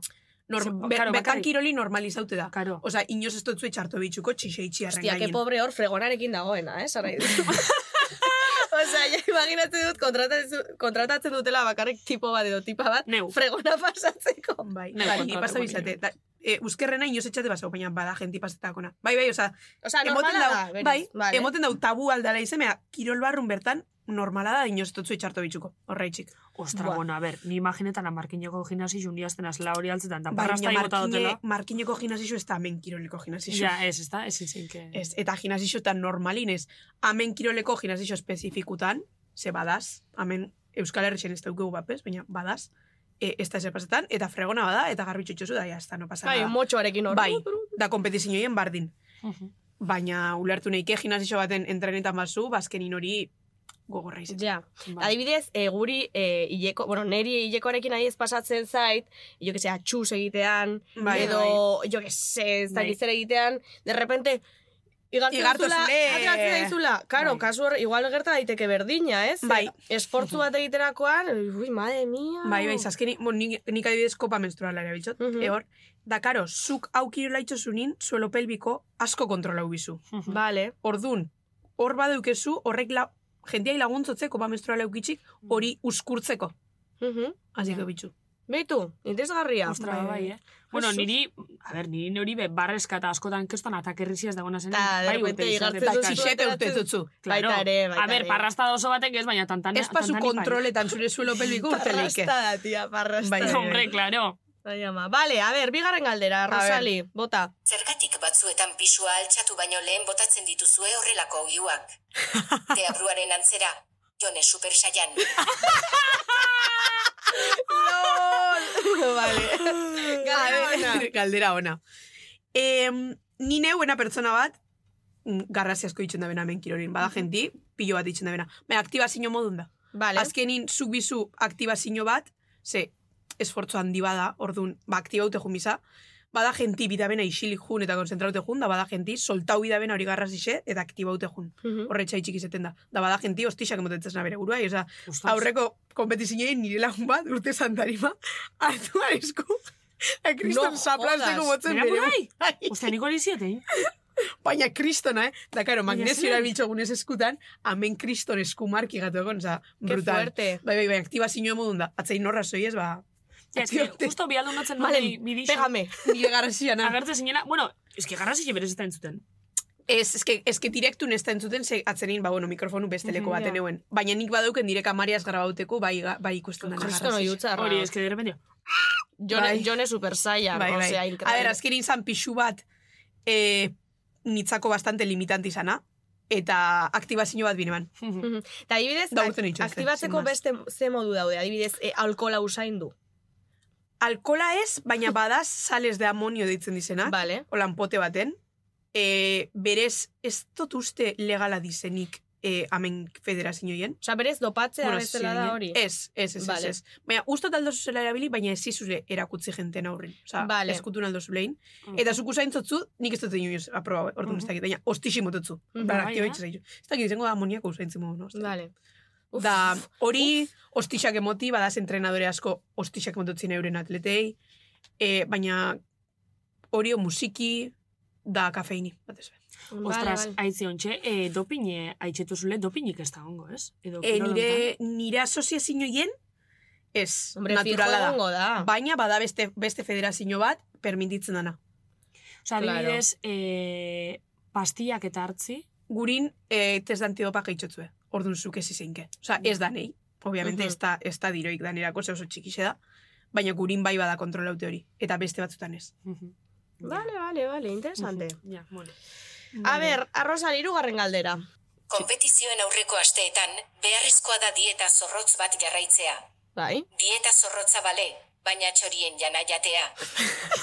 S8: Norm,
S6: Ze-
S8: be,
S6: karo,
S8: bertan
S6: bakarrik-
S8: kiroli normalizaute da.
S6: Karo.
S8: Osa, inoz ez dutzu etxarto bitxuko txiseitzi arren
S2: Hostia, que
S8: gainin.
S2: pobre hor fregonarekin dagoena, eh, sarai. *laughs* Osea, ja imaginatzen dut kontratatzen, kontratatzen dutela bakarrik tipo bat edo tipa bat
S6: Neu.
S2: fregona pasatzeko.
S8: Bai,
S6: Neu
S8: bai,
S6: kontratu
S8: pasa
S6: konio.
S8: bizate. Da, e, uzkerrena inoz etxate pasau, baina bada genti pasetakona. Bai, bai, osa,
S2: Osea,
S8: emoten
S2: Ah, normala da,
S8: dau,
S2: berez.
S8: bai,
S2: Vale.
S8: emoten dau tabu aldala izemea, kirol barrun bertan, normala da inoztotzu itxarto bitxuko, horreitxik.
S6: Ostra,
S2: Buah.
S6: bueno, a ber, ni imaginetan markineko gimnasi jundiazten azela hori altzetan, eta parrasta
S8: Bai, Baina
S6: igota
S8: markine,
S6: dutela.
S8: markineko gimnasio ez da hemen kiroleko gimnasio.
S6: Ja, eh. ez, ez da, ez izin que...
S8: Ez, eta gimnasio tan normalin ez, hemen kiroleko gimnasio espezifikutan, ze badaz, hemen Euskal Herrixen ez daukegu bapes, baina badaz, e, ez da ezer pasetan, eta fregona bada, eta garbitxutxuzu da, ja, ez da, no pasa
S2: Bai,
S8: nada.
S2: motxoarekin hor.
S8: Bai, da kompetizioen bardin.
S6: Mhm.
S8: Baina ulertu neike gimnasio baten entrenetan bazu, bazkenin hori gogorra izan.
S2: Ja.
S6: Bai.
S2: Adibidez, e, guri e, hileko, bueno, neri hilekoarekin adiez pasatzen zait, jo que se atxuz egitean,
S8: Bai,
S2: edo, jo que se, ez dakit
S6: Bai.
S2: zer egitean, de repente, igartzen
S8: Igartu
S2: duzula,
S8: zule.
S2: ateratzen daizula. Karo,
S6: Bai.
S2: kasu hor, igual gerta daiteke berdina, ez?
S8: Bai.
S2: E, Esfortzu bat egiterakoan, ui, madre mia.
S8: Bai, bai, zazkeni, bon, nik, nik adibidez kopa menstruala erabiltzot,
S2: Mhm.
S8: ehor, da karo, zuk aukirola itxosunin, suelo pelbiko asko kontrola bizu.
S6: Mhm.
S2: Vale.
S8: Ordun, hor badaukezu, horrek la, jendiai laguntzotze kopa menstruala eukitxik,
S6: Mm.
S8: hori uskurtzeko.
S2: Mhm.
S8: Aziko
S6: Ja.
S8: bitxu.
S2: Beitu, interesgarria.
S6: Ostra, bai, eh? Bueno, niri, a ber, niri niri be, barrezka eta askotan keston atakerrizia ez dagoena zen.
S2: Ta, de repente igartzen
S8: Eta
S2: duzu
S6: txixe,
S8: txixete
S2: ateratzen-
S8: urte dutzu.
S6: claro.
S2: Baita ere, baita
S6: A ber,
S2: ere.
S6: parrasta oso batek ez, baina tantane. bai.
S8: Ez pasu kontroletan zure suelo pelbiko urte
S2: *laughs*
S8: leike.
S2: Parrasta da, tia, parrasta.
S8: Bai, bai.
S6: *laughs* Hombre, claro.
S2: Bai, ama. Vale, a ver, bigarren galdera, Rosali, bota.
S10: Zergatik batzuetan pisua altxatu baino lehen botatzen dituzue horrelako ogiuak. Deabruaren antzera, jone super saian.
S2: vale.
S8: *laughs* Galdera ona. Em, ni neu buena pertsona bat, mm, garrasi asko ditzen da bena hemen kirorin. Bada jenti, pilo bat ditzen da bena. Baina, aktibazio modun da.
S2: Vale.
S8: Azkenin, zuk bizu aktibazio bat, ze, esfortzo handi bada, ordun ba, aktibaute jun biza, bada jenti bidabena isilik jun eta konzentraute jun, da bada jenti soltau bidabena hori garrasixe eta aktibaute jun.
S2: Mhm.
S8: Horre txaitxik izeten da. Da bada jenti hostixak emotetzen zena bere burua, oza,
S6: Ostras.
S8: aurreko kompetizinei nire lagun bat, urte santarima, hartu aresku, kriston
S2: No
S8: zaplasteko
S2: jodas.
S8: motzen
S6: Bera
S8: bere.
S6: buruai?
S8: Bai.
S6: Ostia, nik hori eh. ziotein.
S8: Baina kristona, eh? Da, karo, magnesio
S6: zer?
S8: erabiltxo gunez eskutan, amen kriston eskumarki gatu egon, oza,
S2: Qué
S8: brutal.
S2: fuerte.
S8: Bai, bai, bai, aktibazio emodun da. Atzein norra zoiez, ba...
S6: Ja, es que justo bialdu notzen
S2: Vale,
S6: nori bidixo.
S2: pégame.
S8: Nire ah. garrasia na.
S6: Agerte zinela, bueno, es que garrasi berez ez da entzuten.
S8: Ez, eske, eske direktu nesta entzuten, ze atzenin, ba, bueno, mikrofonu beste
S6: Mhm,
S8: leku
S6: ja.
S8: baten euen. Baina nik badauken direk amariaz grabauteko, bai, ga- bai ikusten dena.
S2: Kristo no
S8: garrasi.
S2: jutza,
S6: Hori, es que de
S2: *laughs*
S6: repente,
S2: Jone,
S8: Bai.
S2: Jone super saian,
S8: Bai, bai.
S2: osea,
S8: A ber,
S2: increíble.
S8: azken izan pixu bat eh, nitzako bastante limitanti izana, eta aktibazio bat bineban.
S2: Eta adibidez,
S8: Da
S2: ak-
S8: urten itxosten,
S2: aktibatzeko
S8: sin más.
S2: beste ze modu daude, adibidez, e, alkola usaindu.
S8: Alkola ez,
S2: *laughs*
S8: baina badaz sales de amonio deitzen dizena,
S2: Vale.
S8: holan pote baten, e, berez ez dut uste legala dizenik e, amen federazioien.
S2: Osea, berez, dopatzea
S8: Bueno, ¿eh?
S2: bezala da hori.
S8: Ez, ez, ez,
S2: Vale.
S8: ez, ez. Baina, usto taldo zuzela erabili, baina ez izuzle erakutzi jenten aurren. Osa,
S2: Vale.
S8: eskutu naldo zulein. Eta zuku zaintzotzu, nik ez dut inoiz aproba, eh, orduan ez dakit, baina ostiximototzu.
S2: Mhm.
S8: Mm -hmm.
S6: Bai,
S8: aktibaitxe zaitu. Ez dakit, izango da amoniako usaintzi modu, no? Ez dakit.
S2: Vale. Uf,
S8: Da, hori ostixak emoti, badaz entrenadore asko ostixak emototzen euren atletei, e, baina hori musiki da kafeini, batez be.
S2: vale,
S6: ostras,
S2: vale.
S6: aitzi ontxe, e, dopin, e, aitxetu zule, dopinik ez da ongo, ez? Edo,
S2: Eh,
S8: E,
S6: kirol
S8: nire, nire asoziazioen, ez,
S2: Hombre, fijo
S8: naturala da.
S2: egongo da.
S8: Baina bada beste, beste federazio bat, permititzen dana.
S6: honetan. Osea,
S2: claro.
S6: adibidez, e, pastillak eta hartzi,
S8: Gurin, e, test d'antidopa gaitzotzu, orduan zuk ez izeinke. Osa, ez da nei, obviamente,
S2: Mhm.
S8: ez, da, ez da diroik danerako, ze oso txikixe da, baina gurin bai bada kontrolaute hori, eta beste batzutan ez.
S2: Vale, vale, vale, interesante.
S6: Ja, bueno.
S2: A ber, arrozan irugarren galdera.
S10: Kompetizioen aurreko asteetan, beharrezkoa da dieta zorrotz bat jarraitzea.
S2: Bai?
S10: Dieta zorrotza bale, baina txorien jana jatea.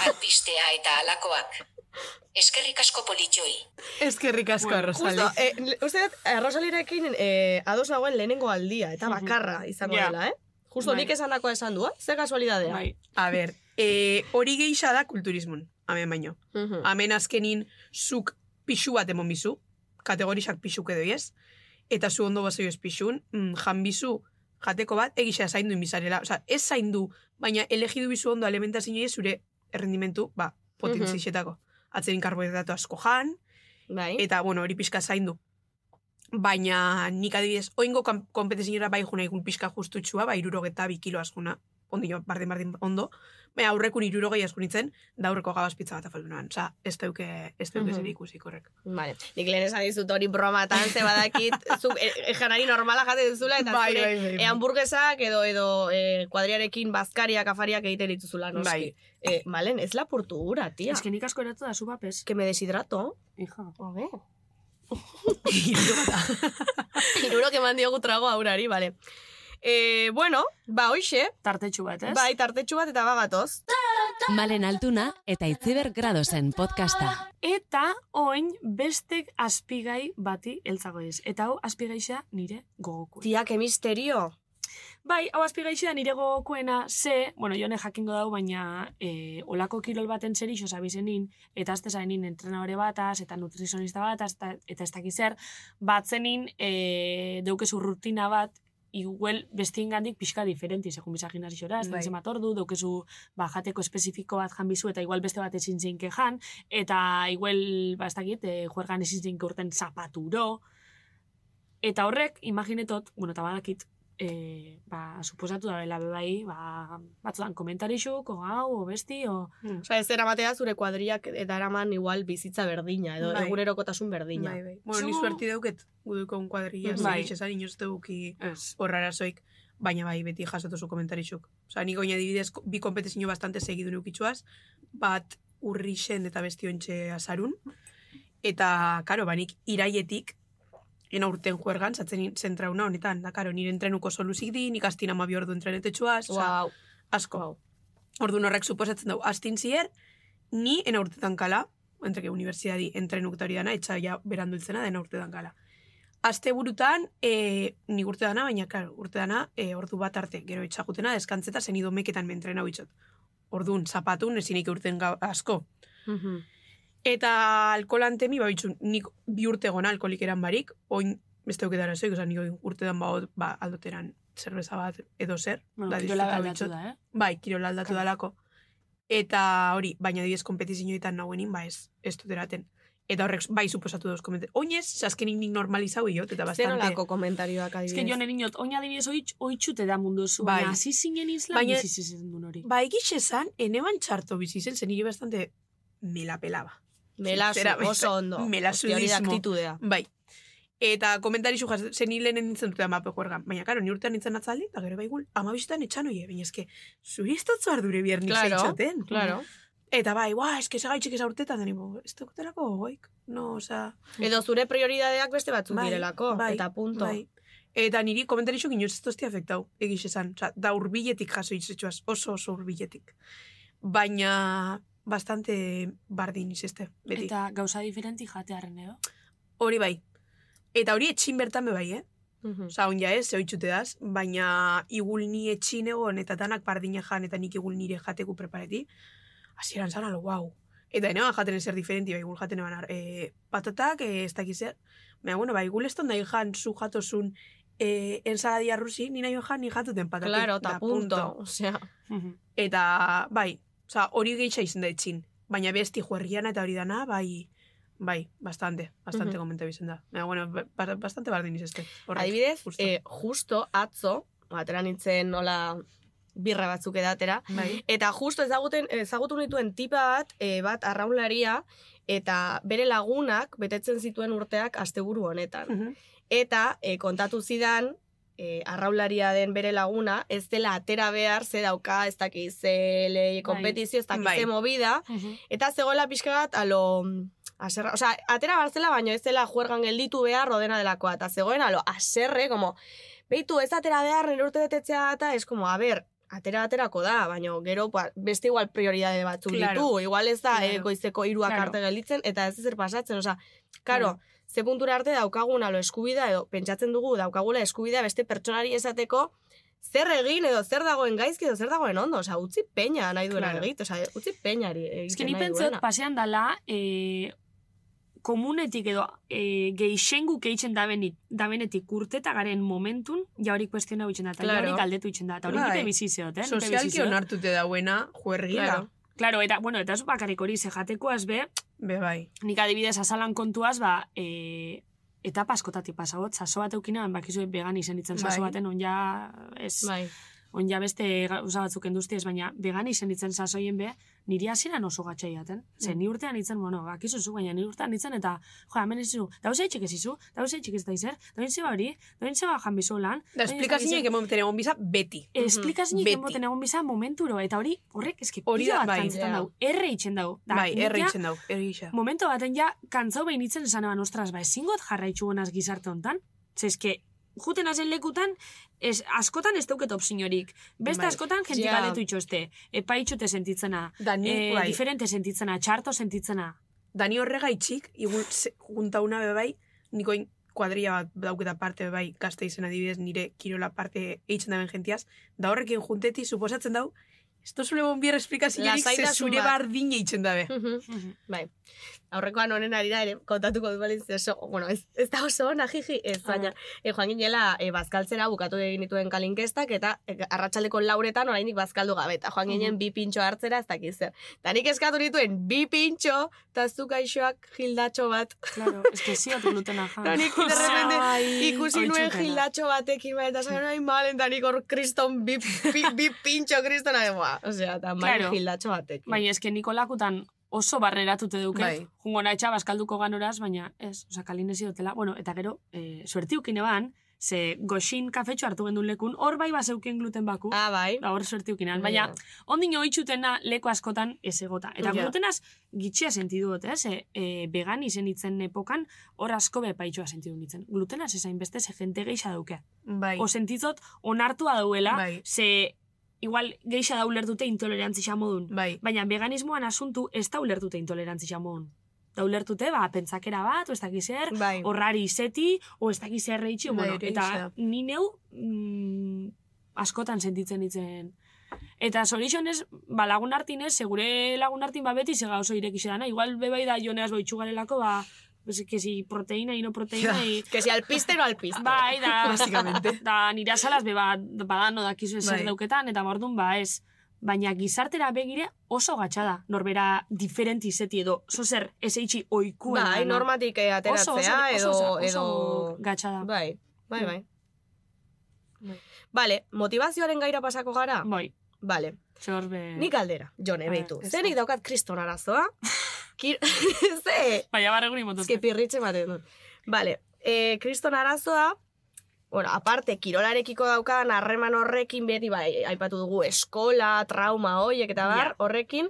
S10: Alpistea eta alakoak. Eskerrik asko politxoi.
S8: Eskerrik asko, bueno,
S2: Justo, eh, uste dut, arrozalirekin eh, ados nagoen lehenengo aldia, eta bakarra izango
S6: Ja.
S2: dela, eh? Justo,
S6: Bai.
S2: nik esan dakoa esan du, eh? Ze kasualidadea.
S6: Bai.
S8: A ber, e, hori geisha da kulturismun, amen baino.
S2: Mhm.
S8: Amen Mm-hmm. azkenin, zuk pixu bat emon bizu, kategorisak pixuk edo ez, eta zu ondo bazoi ez pixun, mm, jan bizu, jateko bat, egisa zaindu inbizarela. Osa, ez zaindu, baina elegidu bizu ondo alimentazio zure errendimentu, ba, potentzizetako. Atzerin karbohidrato asko jan,
S2: Bai.
S8: eta, bueno, hori pixka zaindu. Baina nik adibidez, oingo kan- kompetiziora bai juna igun pixka justutxua, bai irurogeta bi kilo askuna, ondo jo, bardin bardin ondo, baina aurrekun irurogei askunitzen, da aurreko gabazpitza bat afaldu noan. Osa, ez dauke, ez dauke
S2: Mhm.
S8: zer ikusik horrek.
S2: Vale. Nik lehen esan dizut hori bromatan, ze *laughs* badakit, zuk e, e, janari normala jate duzula, eta
S8: Bai,
S2: zure
S8: bai, bai,
S2: e,
S8: bai.
S2: hamburguesak edo edo e, kuadriarekin bazkariak, afariak egiten dituzula, noski.
S8: Bai.
S2: E, malen, ez lapurtu gura, tia.
S6: Es que nik asko eratu da zu bapes.
S2: que me deshidrato.
S6: Hija.
S2: A *laughs* ver. Iruro que man diogu trago aurari, vale. E, bueno, ba, hoxe,
S6: Tartetxu bat, ez?
S2: bai, tartetxu bat eta bagatoz.
S5: Malen Altuna eta Itziber Gradosen podcasta.
S6: Eta oin bestek azpigai bati heltzago ez. Eta hau azpigaixa nire gogokoena.
S2: Tia, que misterio.
S6: Bai, hau azpigaixa nire gogokoena, ze, bueno, jone jakingo dau, baina e, olako kirol baten zer iso zabizenin, eta azte zainin entrenadore bataz, eta nutrizionista bataz, eta, eta ez dakizer, batzenin e, deukezu rutina bat, igual bestiengandik pixka diferenti, segun bisa gimnasiora, ez
S2: Bai.
S6: bai. bat ordu, daukezu ba, jateko espezifiko bat jan bizu, eta igual beste bat ezin zeinke jan, eta igual, ba, ez dakit, e, juergan ezin zeinke urten zapaturo, eta horrek, imaginetot, bueno, eta badakit, e, ba, suposatu da bela bai, ba, batzudan komentarixuk, o hau, o besti, o...
S2: Osa, ez eramatea "Ah, zure kuadriak eta eraman igual bizitza berdina, edo
S8: Bai.
S2: egunerokotasun berdina.
S8: Bai, bai. Bueno, ni
S6: Zu-
S8: suerti dauket, guduko un
S2: Mhm.
S8: kuadrilla,
S6: Bai.
S8: bai. zesan inoz deuki
S6: Ez.
S8: horrara zoik, baina bai, beti jasotozu komentarixuk. Osa, nik oina dibidez, bi kompetizio bastante segidu neukitxuaz, bat urrixen eta bestiontxe azarun, eta, karo, banik iraietik, ena urten juergan, zatzen zentrauna honetan, da, karo, nire entrenuko soluzik di, nik astin ama ordu entrenetetxuaz, osa,
S2: Wow.
S8: asko. Orduan horrek suposatzen dugu, astin zier, ni ena urtetan kala, entre que universidadi entrenuk eta hori dana, etxa ja berandu hiltzena dena urte dan gala. Aste burutan, e, nik urte dana, baina, klar, urte dana, e, ordu bat arte, gero etxagutena, deskantzeta, zen idomeketan mentrena bitxot. Orduan, zapatun, ezinik urten gau- asko. Eta alkolan temi, ba, bitxun, nik bi urte gona alkolik eran barik, oin beste euketara zoik, oza, nik urtedan ba, hor, ba, aldoteran zerbeza bat edo zer. ba,
S6: Bueno, kirola
S8: disfruta
S6: aldatu
S8: Bai, bitxot.
S6: da, eh?
S8: Bai, kirola aldatu dalako. Eta hori, baina diez kompetizioetan nagoenin, ba ez, ez dut eraten. Eta horrek bai suposatu dauz komente. Oinez, azkenik nik normalizau iot, eta
S2: Zer
S8: bastante...
S2: olako komentarioak
S6: Ez que
S2: adibidez?
S6: joan erinot, oin adibidez oitz, oitzute da mundu zu,
S8: Bai.
S6: baina hasi zinen isla,
S8: Baina-
S6: baina bizi zen duen hori.
S8: Ba, egiz esan, eneban txarto bizi zen, zen nire bastante me la pelaba.
S2: Melazu,
S8: Zera,
S2: oso ondo.
S8: melazu
S2: Hostia, hori da
S8: dismo.
S2: aktitudea.
S8: Bai. Eta komentari zu jasen, zen hilen nintzen dute amape juergan. Baina, karo, ni urtean nintzen atzaldi, eta gero baigul, amabizetan etxan oie, baina eske, zuri ez dut zuardure biernik
S2: Claro,
S8: zeitzaten.
S2: Claro.
S8: Eta bai, ua, eske segaitxik ez aurtetan, da nipo, ez dukutelako gogoik. No, oza...
S2: Edo zure prioridadeak beste batzuk
S8: Bai,
S2: direlako,
S8: bai,
S2: eta punto.
S8: Bai. Eta niri komentarixo inoiz ez tozti afektau, egiz esan. Osa, da urbiletik jaso itzetxuaz, oso oso urbiletik. Baina, bastante bardin izeste, beti.
S6: Eta gauza diferenti jatearen edo.
S8: Hori bai. Eta hori etxin bertan be bai, eh?
S2: Mhm.
S8: Osa, on ja ez, zeo daz, baina igul ni etxin egon, eta danak bardina jan, eta nik igul nire jateku prepareti. Hasieran zan, alo, guau. Eta enean jaten ezer diferenti, bai, igul jaten eban, ar- eh, patatak, eh, ez dakiz zer. Baina, bueno, bai, igul ez tonda jan, zu jatozun, eh, ensaladia rusi, nina jo jan, ni jatuten patatik.
S2: Claro, eta
S8: Da,
S2: punto. Osea,
S8: Eta, bai, oza, hori geitxa izan da etxin. Baina besti juergiana eta hori dana, bai, bai, bastante, bastante
S2: Mhm.
S8: komenta bizan da. Baina, bueno, ba- ba- bastante bardin izeste. horrek,
S2: adibidez,
S8: justo.
S2: eh, justo atzo, atera nintzen nola birra batzuk edatera,
S8: Bai.
S2: Eta justo ezaguten, ezagutu nituen tipa bat, e, bat arraunlaria, eta bere lagunak betetzen zituen urteak asteburu honetan.
S8: Mhm.
S2: Eta e, kontatu zidan, e, arraunlaria den bere laguna, ez dela atera behar, ze dauka, ez dakiz, ze le, kompetizio, ez dakiz,
S8: Bai.
S2: ze movida, eta zegoela pixka bat, alo, mm, aserra, oza, atera barzela, baino ez dela juergan gelditu behar rodena delakoa, eta zegoen, alo, aserre, como, beitu, ez atera behar, nire urte betetzea, eta es como, a ber, atera aterako da, baino gero ba, beste igual prioridade batzuk
S8: Claro.
S2: ditu, igual ez da eh,
S8: Claro.
S2: goizeko hiruak
S8: Claro.
S2: arte gelditzen, eta ez zer pasatzen, oza, karo, ze puntura arte daukagun alo eskubida, edo pentsatzen dugu daukagula eskubida beste pertsonari esateko, zer egin edo zer dagoen gaizki edo zer dagoen ondo, osea, utzi peña nahi duena
S8: Claro.
S2: egit, osea, utzi eh. peñari
S6: Ez
S2: egiten
S6: que ni
S2: nahi
S6: pentsot,
S2: duena.
S6: pasean dala, eh, komunetik edo eh, geixengu keitzen dabenit, dabenetik urteta garen momentun, ja hori kuestiona hutsen da, eta ja
S2: Claro.
S6: hori galdetu hutsen da, eta hori
S8: Bai.
S6: nite bizi zeot, eh? nite bizi
S8: Sozialki
S6: zeot.
S8: onartute dauena juergia.
S2: Claro.
S6: Claro, eta, bueno, eta ez bakarrik hori, ze jatekoaz be,
S8: Be bai.
S6: nik adibidez azalan kontuaz, ba, e, etapa askotatik pasagot, saso bat eukina, bakizue vegan izan ditzen saso
S8: Bai.
S6: baten, onja, ez,
S2: Bai,
S6: onja beste gauza batzuk enduzti ez, baina vegan izan ditzen sasoien be, niri hasieran oso gatxai jaten. Ze, ni urtean itzen, bueno, bakizu zu, baina ni urtean itzen, eta, jo, hemen ez zu, dauze etxik ez izu, dauze etxik ez da izer, dauze zeba hori, dauze zeba janbizu lan.
S8: Da, esplikazinek emoten egon biza beti.
S6: E, Esplikazinik
S8: Beti.
S6: emoten egon biza momenturo, eta hori, horrek eski
S8: Hori da,
S6: pila bat
S8: bai.
S6: kantzetan dau, erre itxen dau. Da,
S8: bai,
S6: nik
S8: erre
S6: ja-
S8: itzen dau, erre gisa.
S6: Momento baten ja, kantzau behin itzen esan eban, ostras, ba, ezingot jarraitxu honaz gizarte hontan. Zeske, juten hazen lekutan, ez, askotan ez dauket opzinorik. Beste
S8: Bai.
S6: askotan jentik
S2: Ja.
S6: galetu itxoste. Epaitxute sentitzena,
S8: Da, ni,
S6: eh,
S8: bai,
S6: diferente sentitzena, txarto sentitzena.
S8: da ni horrega itxik, igun se- juntauna be bai, nikoin kuadria bat dauketa parte be bai, gazte izan adibidez, nire kirola parte eitzen daben jentiaz, da horrekin junteti suposatzen dau, esto zule bonbier esplikaziorik, ze
S2: Lasaitasun
S8: zure
S2: bat.
S8: bardin eitzen dabe.
S2: Mhm. Aurrekoan honen arira ere kontatuko dut balintz oso, bueno, ez, ez da oso ona jiji, ez baina eh, joan ginela eh, bazkaltzera bukatu egin dituen kalinkestak eta eh, arratsaldeko lauretan oraindik bazkaldu gabe eta joan ginen bi pintxo hartzera ez dakiz zer. Ta nik eskatu nituen bi pintxo ta zu gaixoak gildatxo bat.
S6: Claro, ez que ziot glutena
S2: *laughs*
S6: jan.
S2: Eta nik de
S6: Osea,
S2: repente
S6: ai,
S2: ikusi nuen
S6: oitzutena.
S2: gildatxo batekin baina eta zaren hain malen ta nik hor kriston bi, bi, bi pintxo kristona demoa. Osea, eta malen
S6: Claro.
S2: gildatxo batekin.
S6: Baina Bai, ez que nikolakutan oso barreratute duke.
S8: Bai.
S6: Jungo nahetxa baskalduko ganoraz, baina ez, oza, kalin ez idotela. Bueno, eta gero, e, suertiukin eban, ze goxin kafetxo hartu gendun lekun, hor bai bazeukien gluten baku.
S2: Ah, bai.
S6: Ba, hor suertiukin eban. Baina, ondino oitzutena leko askotan ez egota. Eta
S8: bai. Ja.
S6: glutenaz gitxia sentidu dut, ez? E, e, vegan izen itzen epokan, hor asko bepaitxoa sentidu nintzen. Glutenaz ezain beste ze jente geixa duke.
S8: Bai,
S6: O sentitzot onartua dauela,
S8: Bai.
S6: ze igual geixa da ulertute intolerantzia modun.
S8: bai,
S6: Baina veganismoan asuntu ez da ulertute intolerantzia modun. Da ulertute, ba, pentsakera bat, o ez dakiz zer,
S2: Bai.
S6: horrari izeti, o ez dakiz zer reitxi,
S8: Bai,
S6: bueno,
S8: hori
S6: eta
S8: izea.
S6: ni neu mm, askotan sentitzen ditzen. Eta zorixonez, ba, lagun hartin ez, segure lagun hartin ba beti zega oso irekixera na, igual bebai da joneaz boitxugarelako, ba, pues, que si proteina, ino proteina, i...
S2: Que si alpiste, no alpiste. *laughs*
S6: Bai, da,
S8: Básicamente.
S6: da nire asalaz beba, badano dakizu ezer
S8: Bai.
S6: dauketan, eta bordun ba ez. Baina gizartera begire oso gatsa da, norbera diferenti izeti edo, zozer, ez eitxi oikuen.
S2: Bai, normatik eh,
S6: oso, oso, oso,
S2: ateratzea, edo...
S6: oso,
S2: edo...
S6: oso gatsa da.
S2: Bai, bai,
S6: Mm.
S2: bai.
S6: Bai.
S2: Vale, motivazioaren gaira pasako gara?
S6: Bai,
S2: Vale.
S6: txorbe.
S2: Nik aldera, jone,
S6: Ah,
S2: beitu.
S6: ez
S2: Zenik daukat kriston
S6: *laughs*
S2: arazoa. Kir... *laughs* Ze,
S6: Baina barreguri
S2: eske
S6: mototu.
S2: pirritxe ematen dut. Vale, eh, kriston arazoa, bueno, aparte, kirolarekiko daukadan harreman horrekin beti, bai, aipatu dugu eskola, trauma hoiek eta bar,
S6: Ja.
S2: horrekin,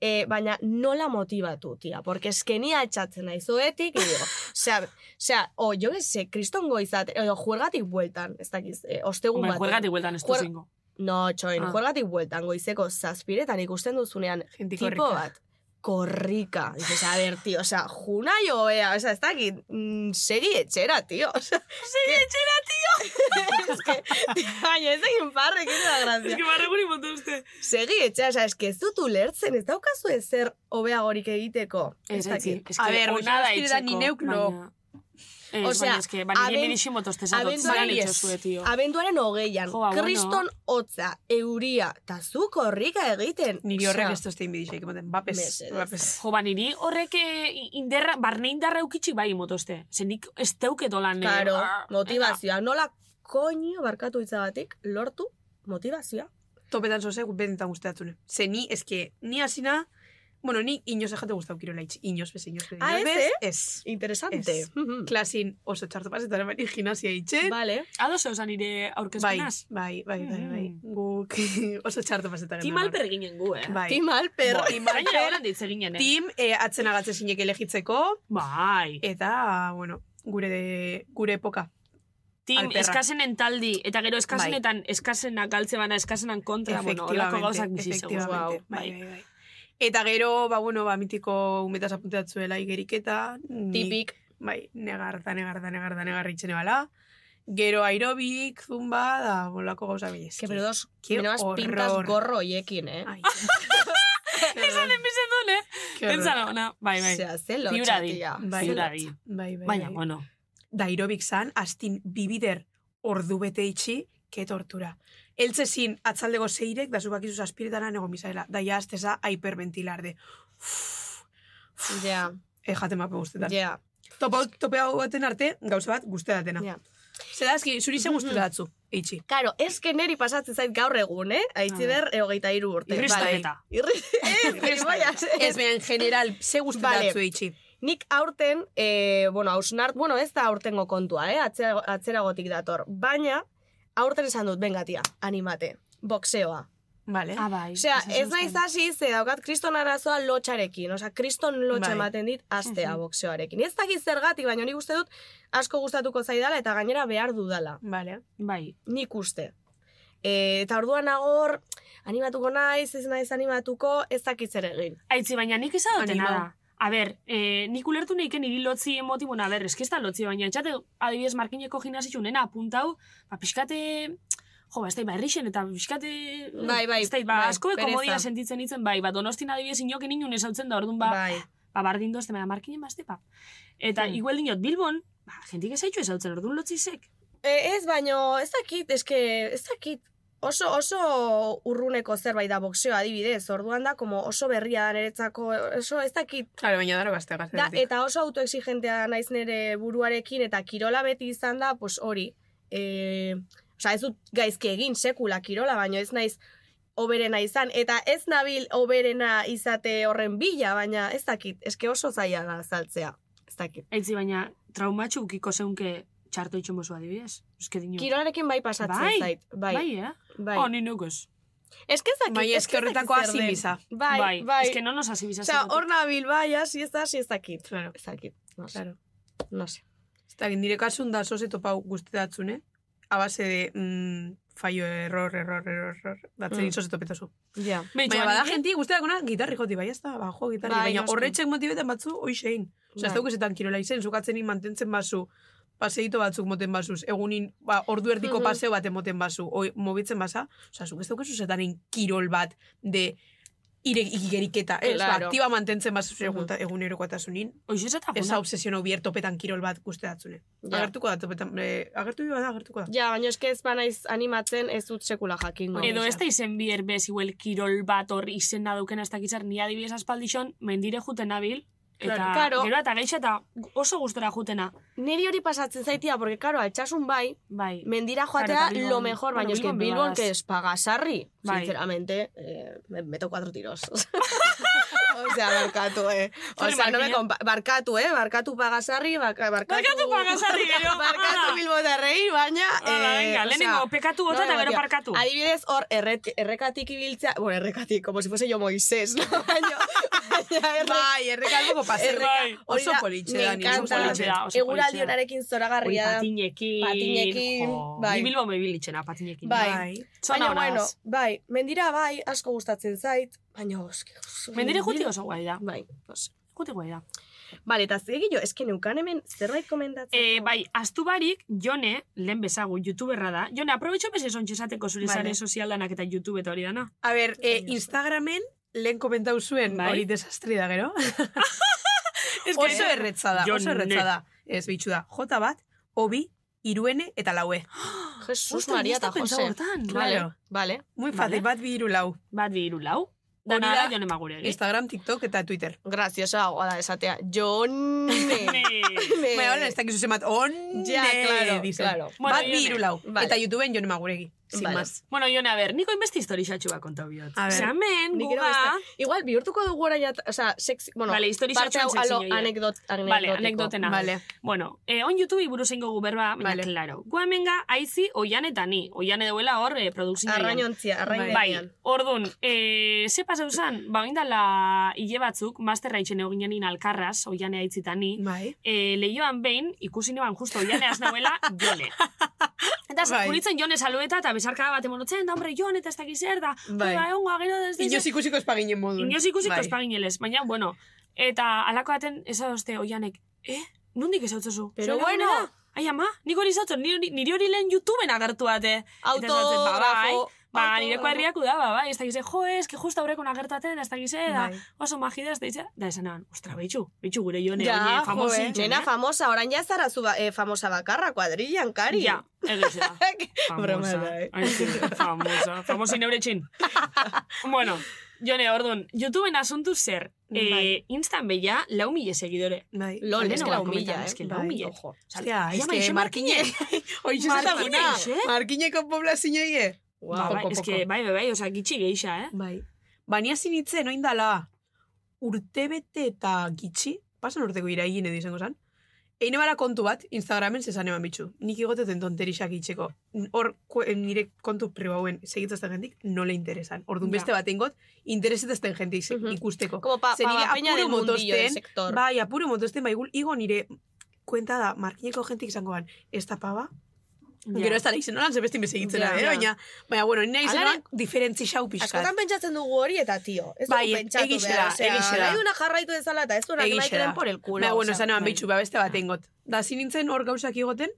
S2: eh, baina nola motibatu, tia, porque eskenia etxatzen nahi zoetik, y
S6: *laughs*
S2: digo, osea, osea, o, jo que se, kriston goizat, edo juergatik bueltan, ez dakiz, eh, ostegun
S6: Hombre,
S2: batean.
S6: juergatik bueltan ez
S2: Juer- *laughs*
S6: duzingo.
S2: No, txoin,
S6: Ah.
S2: juergatik bueltan goizeko zazpiretan ikusten duzunean
S8: Gente
S2: tipo bat, korrika. Dices, a ver, tío, o sea, juna jo, ea, o sea, ez dakit, mm, segi etxera, tío.
S6: *laughs*
S2: O sea, segi etxera, tío! *laughs* es que, tío, baina ez egin parrek, ez da
S6: Ez
S2: grazia.
S6: que barreguri mototu.
S2: Segi etxera, o sea, es que ez dut ulertzen, ez daukazu ezer hobeagorik egiteko.
S6: Ez etzi.
S2: dakit.
S6: Ez
S8: A
S6: que
S8: ber,
S6: ona da
S8: goizaz pirera
S6: etxeko,
S8: ni neuk no.
S6: baina- Ez,
S2: Osea,
S6: baina ez que, baina
S2: aben-
S6: nire midiximotozte zatot,
S2: abenduaren
S6: zelan
S2: ies.
S6: etxosue, tio.
S2: Abenduaren hogeian,
S6: Jo, ba, bueno.
S2: kriston hotza, euria, eta zu korrika egiten.
S8: Niri horrek
S2: Osea,
S8: ez doztein bidixeik ematen. Bapes,
S2: Mesedez.
S8: bapes.
S6: Jo, ba, niri horrek eh, inderra, barne indarra eukitxi bai motoste. Ze nik ez eh, teuket lan...
S2: Claro, motivazioa. Nola koño barkatu itzagatik lortu motivazioa.
S8: Topetan zoze, benetan guztatzune. Ze ni, eske, ni asina, bueno, ni inoz ejate guztau kirola itx. Inoz bez, inoz bez,
S2: Ah,
S8: inoz
S2: ez,
S8: bez,
S2: eh?
S8: ez.
S2: Interesante.
S8: Ez. Klasin oso txarto pasetan eman gimnasia itxen.
S2: Vale.
S6: Ado zeu zan nire
S8: Bai,
S6: aurkezpenaz.
S8: bai, bai, bai, bai.
S6: Mhm.
S2: Mm.
S8: Guk *laughs* oso txarto pasetan
S6: Ti malper ginen gu, eh?
S8: Bai.
S2: Tim Alper.
S8: Bo, Tim Alper.
S6: Baina holan ditze ginen, eh?
S8: Tim eh, atzen agatze zinek elegitzeko,
S6: Bai.
S8: eta, bueno, gure, gure epoka.
S6: Tim,
S8: Alperra.
S6: eskazenen taldi, eta gero eskazenetan
S8: Bai.
S6: eskazenak galtze bana, eskazenan kontra, bueno, holako gauzak bizi zeu.
S8: efectivamente. Bai, bai, bai. Eta gero, ba, bueno, ba, mitiko umetaz apuntatzuela igeriketa. ni-
S2: Tipik.
S8: Bai, negar, da, negar, da, negar, da, negar itxene bala. Gero aerobik, zumba, da, bolako gauza bilez.
S2: Que pero dos,
S8: Qué
S2: menos pintas
S8: horror.
S2: gorro hoiekin, eh? *laughs*
S8: Ai.
S6: *laughs* Esan enbizan duen, eh?
S8: bai. Qué horror.
S6: Pentsalo, na, bai, bai.
S2: Osea, ze lotxa,
S6: Ziura di.
S2: tia.
S8: Bai.
S6: Ziura di.
S8: Bai, bai,
S6: Baina,
S8: bai.
S6: bueno.
S8: Da aerobik zan, astin bibider ordu bete itxi, ke tortura. Eltze zin, atzaldego zeirek, da zubak izuz aspiretara nego misaela. Da ja, asteza, hiperventilar de.
S2: Ja,
S8: Ejaten eh, mape guztetan.
S2: ja.
S8: Topa, tope hau baten arte, gauza bat, guzte datena.
S2: Ja.
S8: Zera, eski, zuri ze guzte datzu, eitxi.
S2: Claro, ez que neri pasatzen zait gaur egun, eh? Aitziber, egogeita iru urte.
S6: Irrista
S2: Vale.
S6: eta.
S2: Irri...
S8: *laughs*
S2: Ez, gilipollas,
S8: Ez, baina, en general, ze guzte
S2: Vale.
S8: datzu, eitxi.
S2: Nik aurten, e, bueno, hausnart, bueno, ez da aurtengo kontua, eh? Atzera, atzeragotik dator. Baina, aurten esan dut, benga, tia, animate. Boxeoa.
S8: Vale.
S6: Ah, bai.
S2: Osea,
S6: esan
S2: ez
S6: zuen.
S2: naiz hasi, ze daukat kriston arazoa lotxarekin. Osea, kriston lotxa
S8: Bai.
S2: ematen dit astea
S6: Mhm.
S2: boxeoarekin. Ez dakit zergatik, baina nik uste dut asko gustatuko zaidala eta gainera behar dudala.
S8: Vale.
S6: Bai.
S2: Nik uste. E, eta orduan agor, animatuko naiz, ez naiz animatuko, ez dakit zer egin.
S6: Aitzi, baina nik ez adotena
S8: Animau.
S6: da. A ber, eh, nik ulertu neiken hiri lotzi emoti, bueno, a ber, eski ez da lotzi, baina etxate, adibidez, markineko gimnasitxu nena apuntau, ba, pixkate, jo, ba, ez da, ba, errixen, eta pixkate,
S2: Bai, bai,
S6: ez da, ba,
S2: bai,
S6: asko
S2: pereza.
S6: komodia sentitzen itzen, bai, ba, donostin adibidez inoken inun ezautzen da, orduan, ba,
S2: Bai.
S6: ba, bardin dozte, baina markinen bazte, ba. Eta,
S2: Hmm.
S6: igual dinot, Bilbon, ba, jentik ez haitxu ezautzen, orduan lotzizek.
S2: E, ez, baino, ez dakit, eske, ez dakit, oso, oso urruneko zerbait da boxeoa adibidez, orduan da, como oso berria da niretzako, oso ez dakit,
S8: Claro, baina daro gazte gazte.
S2: Da, eta oso autoexigentea naiz nire buruarekin, eta kirola beti izan da, pues hori. E, Osa, ez dut gaizki egin sekula kirola, baino ez naiz oberena izan. Eta ez nabil oberena izate horren bila, baina ez dakit, eske oso zaila da saltzea. Ez dakit.
S6: Aitzi, baina, traumatxu ukiko zeunke txarto itxun bozu adibidez. Eske dinot.
S2: Kirolarekin bai pasatzen
S6: Bai,
S2: zait. Bai,
S6: Bai, eh?
S2: bai.
S6: Oh, ni nukoz.
S2: Eske ez dakit.
S8: Bai,
S2: ez
S8: eske
S2: ez dakit
S8: horretakoa
S2: zer den.
S8: zimiza.
S2: Bai, bai.
S6: Es que no nos hasi bizaz.
S2: Osa, hor nabil, bai, hasi ez da, hasi ez dakit.
S8: Claro.
S2: Ez dakit. No sé.
S8: Claro.
S2: No sé.
S8: Eta nire kasun da zoze topau guzte datzune. A base de mm, faio, error, error, error, error, batzen
S6: Mm.
S8: mm. izozetopetezu.
S2: Ja.
S8: Baina bada jenti guztiak ona gitarri joti, bai, ez da, bajo gitarri,
S2: Bai,
S8: baina
S2: noski.
S8: horretxek motibetan batzu oixein. Osa, ez
S2: Bai.
S8: daukesetan kirola izen, zukatzen in mantentzen bazu, paseito batzuk moten bazuz, egunin, ba, ordu erdiko
S2: Mhm.
S8: paseo baten moten bazu, oi, mobitzen baza, osa, zuk ez daukezu zetan in kirol bat de ire igeriketa, ez,
S2: Claro.
S8: ba, aktiba mantentzen bazu
S2: Mhm. Ah,
S8: egun, eguneroko atasunin,
S6: Oizu ez eta
S8: ez da
S6: bona.
S8: obsesiono bier topetan kirol bat guzti datzune.
S2: Ja.
S8: Agertuko da, topetan, e, agertu biba da, agertuko da.
S2: Ja, baina eske ez banaiz animatzen ez dut sekula jakingo.
S8: Hori
S6: Edo ez
S8: izan.
S6: da izen bier bez, igual kirol bat hor izena dauken ez dakitzar, ni adibidez aspaldixon, mendire juten nabil, eta
S2: Claro. Claro.
S6: gero eta geixo eta oso gustora jutena.
S2: Neri hori pasatzen zaitia, porque, karo, altxasun bai,
S6: Bai,
S2: mendira
S6: Claro,
S2: joatea
S6: eta Bilbon-
S2: lo mejor,
S6: bueno,
S2: baina eske
S6: Bilbon
S2: Bilbon,
S6: bebadas.
S2: que es pagasarri,
S6: Bai.
S2: sinceramente, eh, me meto cuatro tiros. *laughs* o sea, barkatu, eh. O
S6: Zure
S2: sea, no me
S6: Markina.
S2: compa- barkatu, eh, barkatu pagasarri, barka- barkatu...
S6: Barkatu pagasarri, gero,
S2: *laughs* barkatu
S6: *laughs* hala.
S2: bilbotarrei, baina...
S6: Hala, venga, lehenengo, pekatu bota
S2: no,
S6: eta gero
S2: tío,
S6: parkatu.
S2: Adibidez, hor, erret, errekatik ibiltzea... Bueno, errekatik, como si fuese yo Moisés, no? *laughs* Baina, baina erre-
S8: Bai, errekalboko paseo.
S6: Bai.
S8: Oso
S2: Hori da,
S8: politxe,
S2: me
S8: Dani,
S2: encanta.
S8: oso politxe.
S6: da, oso
S2: Eguraldi
S6: politxe da.
S2: honarekin zoragarria da.
S6: patinekin.
S2: Patinekin,
S6: jo,
S2: bai.
S6: Ni bilbo mebilitzena, patinekin.
S2: Bai.
S6: Zona
S2: baina, bueno,
S6: honaz.
S2: bai, mendira bai, asko gustatzen zait, baina oh, oski.
S6: Mendire juti oso guai da.
S2: Bai, oso.
S6: Juti guai da.
S2: Bale, eta zegi jo, eske neukan hemen zerbait komendatzen.
S6: E, bai, astu barik, Jone, lehen bezagu, youtuberra da. Jone, aprobetxo bezes ontxezateko zure
S8: Vale.
S6: sare sozial danak eta youtube eta hori
S8: *laughs*
S6: dana.
S8: A ber, eh, Instagramen lehen komentau zuen
S6: Bai.
S8: hori desastri da gero.
S6: Ez que-
S8: oso erretza da, oso
S6: Jone.
S8: erretza da. Ez bitxu da, J bat, obi, iruene eta E. laue.
S2: Jesus
S6: Ostras,
S2: Maria
S6: ez da
S2: eta
S6: pentsau
S2: Jose.
S6: hortan.
S8: Claro.
S2: Vale.
S8: Muy
S6: Vale.
S8: fácil, bat bi hiru lau.
S6: Bat bi hiru lau.
S8: Hori
S6: Dana
S8: da.
S6: da Jone Maguregi.
S8: Instagram, TikTok eta Twitter.
S2: Graziosa hau da esatea. Jone. *laughs* Me-
S8: Baina, hola, ez dakizu zenbat, on,
S2: Ja, Eh, claro, claro.
S6: Bueno,
S8: bat bi
S6: Jone.
S8: hiru lau.
S2: Vale.
S8: Eta YouTubeen Jone Maguregi. Sin
S2: Vale.
S8: más.
S6: Bueno, Jone, a ber, niko inbeste histori xatxu bat kontau bihot.
S8: A ber,
S6: Xamen,
S2: Nik ero
S6: guga.
S2: beste- Igual bihurtuko dugu orain, at- o sea, sexy, bueno,
S6: Vale, historia
S2: parte hau
S6: sartzen
S2: alo
S6: sexy horiek.
S2: anekdot, anekdotiko.
S6: Vale, anekdotena.
S8: Vale.
S6: Bueno, eh, on YouTube iburu zeingo guberba, baina,
S8: Vale.
S6: claro. Guamenga, aizi, oian eta ni. Oian eduela hor, eh, produkzioa.
S2: Arrainontzia,
S6: Bai,
S2: arrainontzia.
S6: orduan, e, ze pasau zen, ba, oindala hile batzuk, masterra itxen egon ginen alkarraz, oianea itzitani,
S8: Bai.
S6: e, lehioan behin, ikusi neban justo oianeaz nauela,
S8: *laughs*
S6: jone. Eta
S8: Bai.
S6: zakuritzen jone salueta, eta bezarka bat emonotzen, da, hombre, jone, eta ez dakiz zer, da, bai.
S8: Bai.
S6: ba, egon, agero, ez dizu.
S8: Inoz ikusiko espaginen modun.
S6: Inoz ikusiko
S8: Bai.
S6: espaginelez, baina, bueno, eta alako baten ez adozte oianek, eh, nondik ez hau
S2: Pero bueno.
S6: Ai, ama, nik hori zautzen, niri, niri hori lehen YouTubeen agertu bate.
S8: Bai.
S2: Autografo.
S6: Ba,
S2: autografo.
S6: nireko herriak da, ba, bai, ez da gize, jo, ez, que justa aurrekon agertaten, ez da gize, da,
S8: Bai.
S6: oso magida, ez da gize, da esan nahan, ostra, behitxu, behitxu gure jone, ja,
S2: Ja,
S6: oie, famosi,
S2: jo, eh. Nena famosa, orain ja zara zu ba, eh, famosa bakarra, kuadrillan, kari.
S6: Ja, egiz
S2: *laughs*
S6: da.
S2: Broma
S6: Famosa.
S2: da, eh.
S6: Ai, sí, famosa. Famosi neure txin. bueno, jone, orduan, YouTubeen asuntu zer, eh,
S8: Bai.
S6: instan beia, lau mila segidore.
S8: Bai.
S2: Lol,
S6: Lorena
S2: es que
S6: va
S2: la
S6: a comentar,
S2: humilla, eh.
S6: es que la
S2: Bai,
S6: humilla.
S2: ojo.
S8: Hostia,
S6: Ai,
S8: es
S6: ama,
S8: que
S6: ixe
S8: markinen. Oixe ez da
S6: Markinen, ixe?
S2: eh.
S8: Markineko poblazio hie.
S6: Ba,
S8: Poko,
S6: bai, ez
S8: poko.
S6: que, bai, bai, bai, oza, gitxi geixa, eh?
S8: Bai. Bania zinitzen, oin dala, urtebete eta gitxi, pasan urteko iraigin edo izango zan, Eine bala kontu bat, Instagramen zezan eman bitxu. Nik igoteten tonterixak itxeko. Hor, kue- nire kontu pribauen segitzazten gentik, no le interesan. Orduan
S6: Ja.
S8: beste baten got, interesetazten jentik ze-
S2: Mhm.
S8: ikusteko.
S2: Como pa,
S8: Ze
S2: pa,
S8: nire
S2: pa peña del
S8: apuru
S2: mundillo del
S8: motosten,
S2: sector.
S8: Bai, apuru motosten, bai, gul, igo nire kuenta da, markineko jentik izango ban, ez da paba, Gero ez da nahi nolan, zebestin besegitzena,
S2: Ja,
S8: eh?
S2: ja.
S8: Baina, baina, bueno, nahi
S2: Hala
S8: zenoan, diferentzi xau pixkat.
S2: Askotan pentsatzen dugu hori eta tio. Ez
S8: Bai,
S2: dugu pentsatu
S8: egixe
S2: behar,
S8: da,
S2: osea,
S8: egixe da.
S2: Nahi duna jarraitu dezala eta ez duenak
S8: Egixe
S2: nahi
S8: da.
S2: keren por el culo.
S8: Baina, bueno,
S2: osea,
S8: esan eban
S2: bai.
S8: bitxu, ba beste
S6: Ah.
S8: baten got. Da, zin nintzen hor gauzak igoten,